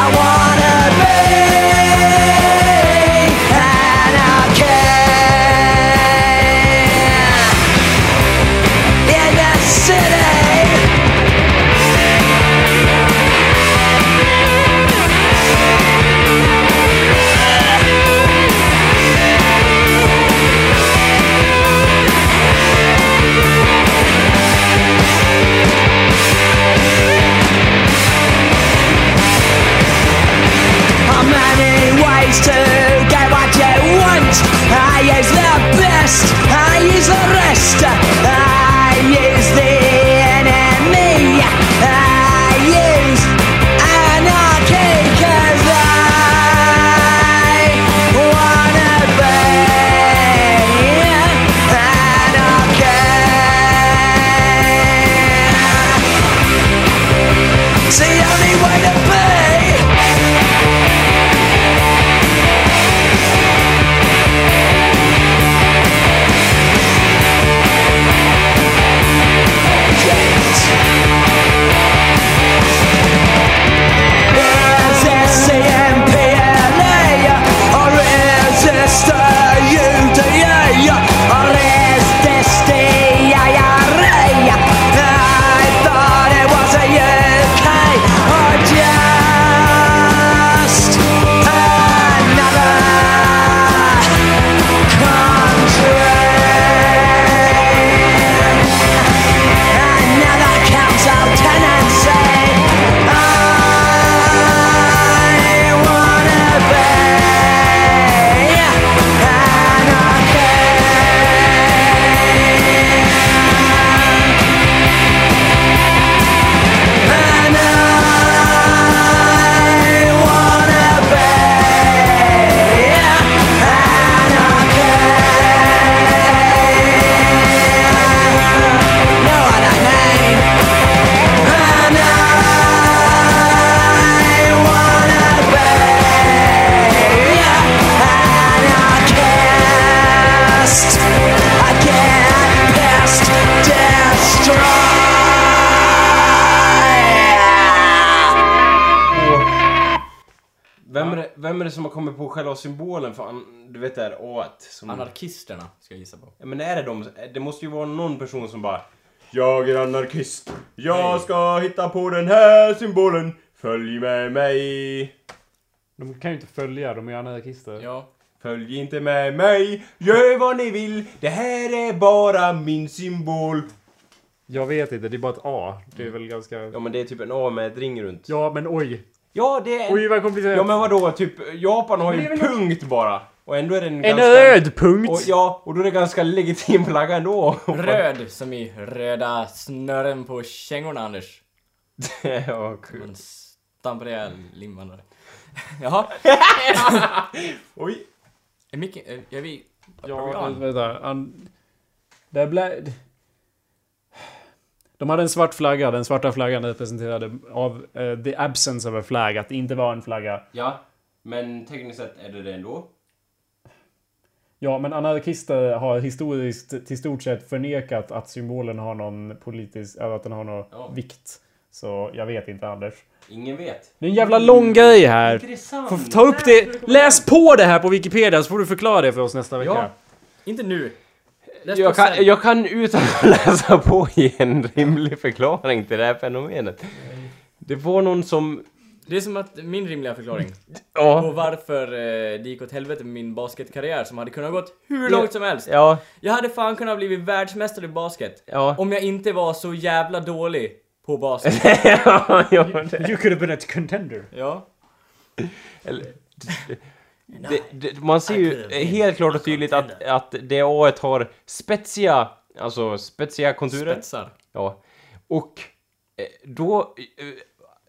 Speaker 5: I wanna be Anarchy in the city. How many ways to get what you want? I use the best, I use the rest, I use the enemy, I use anarchy, cause I wanna be anarchy. It's the only way to be.
Speaker 3: Vem är det som har kommit på själva symbolen för an, du vet det här åt? Som...
Speaker 2: Anarkisterna, ska jag gissa på.
Speaker 3: Ja, men är det de? Det måste ju vara någon person som bara Jag är anarkist. Jag ska hitta på den här symbolen. Följ med mig.
Speaker 1: De kan ju inte följa, de är ju anarkister.
Speaker 2: Ja.
Speaker 3: Följ inte med mig. Gör vad ni vill. Det här är bara min symbol.
Speaker 1: Jag vet inte, det är bara ett A. Det är väl ganska...
Speaker 3: Ja men det är typ en A med ett ring runt.
Speaker 1: Ja, men oj.
Speaker 3: Ja det är...
Speaker 1: Oj, vad komplicerat.
Speaker 3: Ja men vadå, typ Japan har ju en punkt bara. Och ändå är den en
Speaker 1: En
Speaker 3: ganska...
Speaker 1: röd punkt!
Speaker 3: Och, ja, och då är det ganska legitim flagga ändå.
Speaker 2: Röd, som i röda snören på kängorna, Anders.
Speaker 3: ja, kul.
Speaker 2: Man stampar ihjäl invandrare. Jaha.
Speaker 3: Oj.
Speaker 2: Är Micke... Är, är vi... är vi
Speaker 1: Ja,
Speaker 2: on?
Speaker 1: an- vänta. An... Det blev... De hade en svart flagga. Den svarta flaggan representerade av eh, the absence of a flag, att det inte var en flagga.
Speaker 3: Ja, men tekniskt sett är det det ändå.
Speaker 1: Ja, men anarkister har historiskt till stort sett förnekat att symbolen har någon politisk, eller att den har någon
Speaker 3: Ja.
Speaker 1: vikt. Så jag vet inte Anders.
Speaker 3: Ingen vet.
Speaker 1: Det är en jävla lång grej här.
Speaker 3: Intressant.
Speaker 1: Får ta upp det. Läs på det här på Wikipedia så får du förklara det för oss nästa vecka.
Speaker 2: Ja. Inte nu. Läs på
Speaker 3: Jag
Speaker 2: sen.
Speaker 3: kan, jag kan utan att läsa på ge en rimlig förklaring till det här fenomenet. Det var någon som...
Speaker 2: Det är som att min rimliga förklaring på
Speaker 3: Ja.
Speaker 2: varför eh, det gick åt helvete med min basketkarriär som hade kunnat gått hur långt som helst.
Speaker 3: Ja,
Speaker 2: Jag hade fan kunnat bli världsmästare i basket.
Speaker 3: ja.
Speaker 2: Om jag inte var så jävla dålig på basket.
Speaker 3: ja, ja det,
Speaker 1: You could have been a contender.
Speaker 2: ja.
Speaker 3: eller- det, det, man ser ju helt klart och tydligt att, att det a E har spetsiga, alltså spetsiga konturer.
Speaker 2: Spetsar.
Speaker 3: Ja. Och eh, då, eh,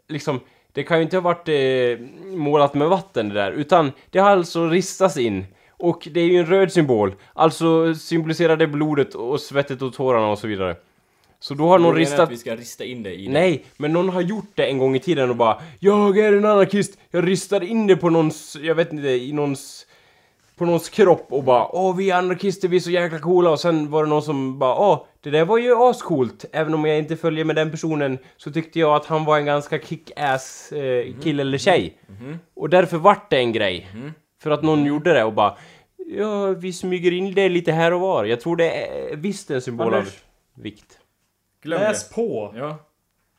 Speaker 3: liksom, det kan ju inte ha varit eh, målat med vatten det där, utan det har alltså ristats in. Och det är ju en röd symbol, alltså symboliserar det blodet och svettet och tårarna och så vidare. Så då har
Speaker 2: Du
Speaker 3: någon
Speaker 2: menar
Speaker 3: ristat...
Speaker 2: att vi ska rista in det i det?
Speaker 3: Nej, men någon har gjort det en gång i tiden och bara Jag är en anarkist, jag ristar in det på någons, jag vet inte, i någons på någons kropp och bara Åh vi är anarkister, vi är så jäkla coola och sen var det någon som bara Åh, det där var ju ascoolt Även om jag inte följer med den personen så tyckte jag att han var en ganska kick-ass eh,
Speaker 2: Mhm.
Speaker 3: kille eller tjej Och därför vart det en grej För att någon gjorde det och bara Ja, vi smyger in det lite här och var Jag tror det är visst en symbol av
Speaker 1: Anders.
Speaker 3: vikt
Speaker 2: Glöm
Speaker 1: Läs på!
Speaker 2: det. Ja.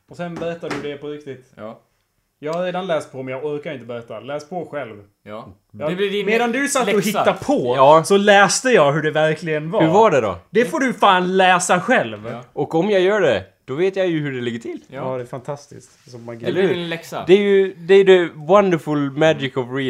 Speaker 1: Och sen berättar du det på riktigt.
Speaker 2: Ja.
Speaker 1: Jag har redan läst på men jag orkar inte berätta. Läs på själv.
Speaker 2: Ja.
Speaker 1: Ja,
Speaker 2: Det blir din
Speaker 1: Medan du satt och
Speaker 2: läxa.
Speaker 1: hittade på
Speaker 3: Ja.
Speaker 1: så läste jag hur det verkligen var.
Speaker 3: Hur var det då?
Speaker 1: Det får du fan läsa själv. Ja,
Speaker 3: Och om jag gör det, då vet jag ju hur det ligger till.
Speaker 2: Ja.
Speaker 1: det är fantastiskt. Som magi.
Speaker 2: Det blir din läxa.
Speaker 3: Det är ju det, är det wonderful magic of reading.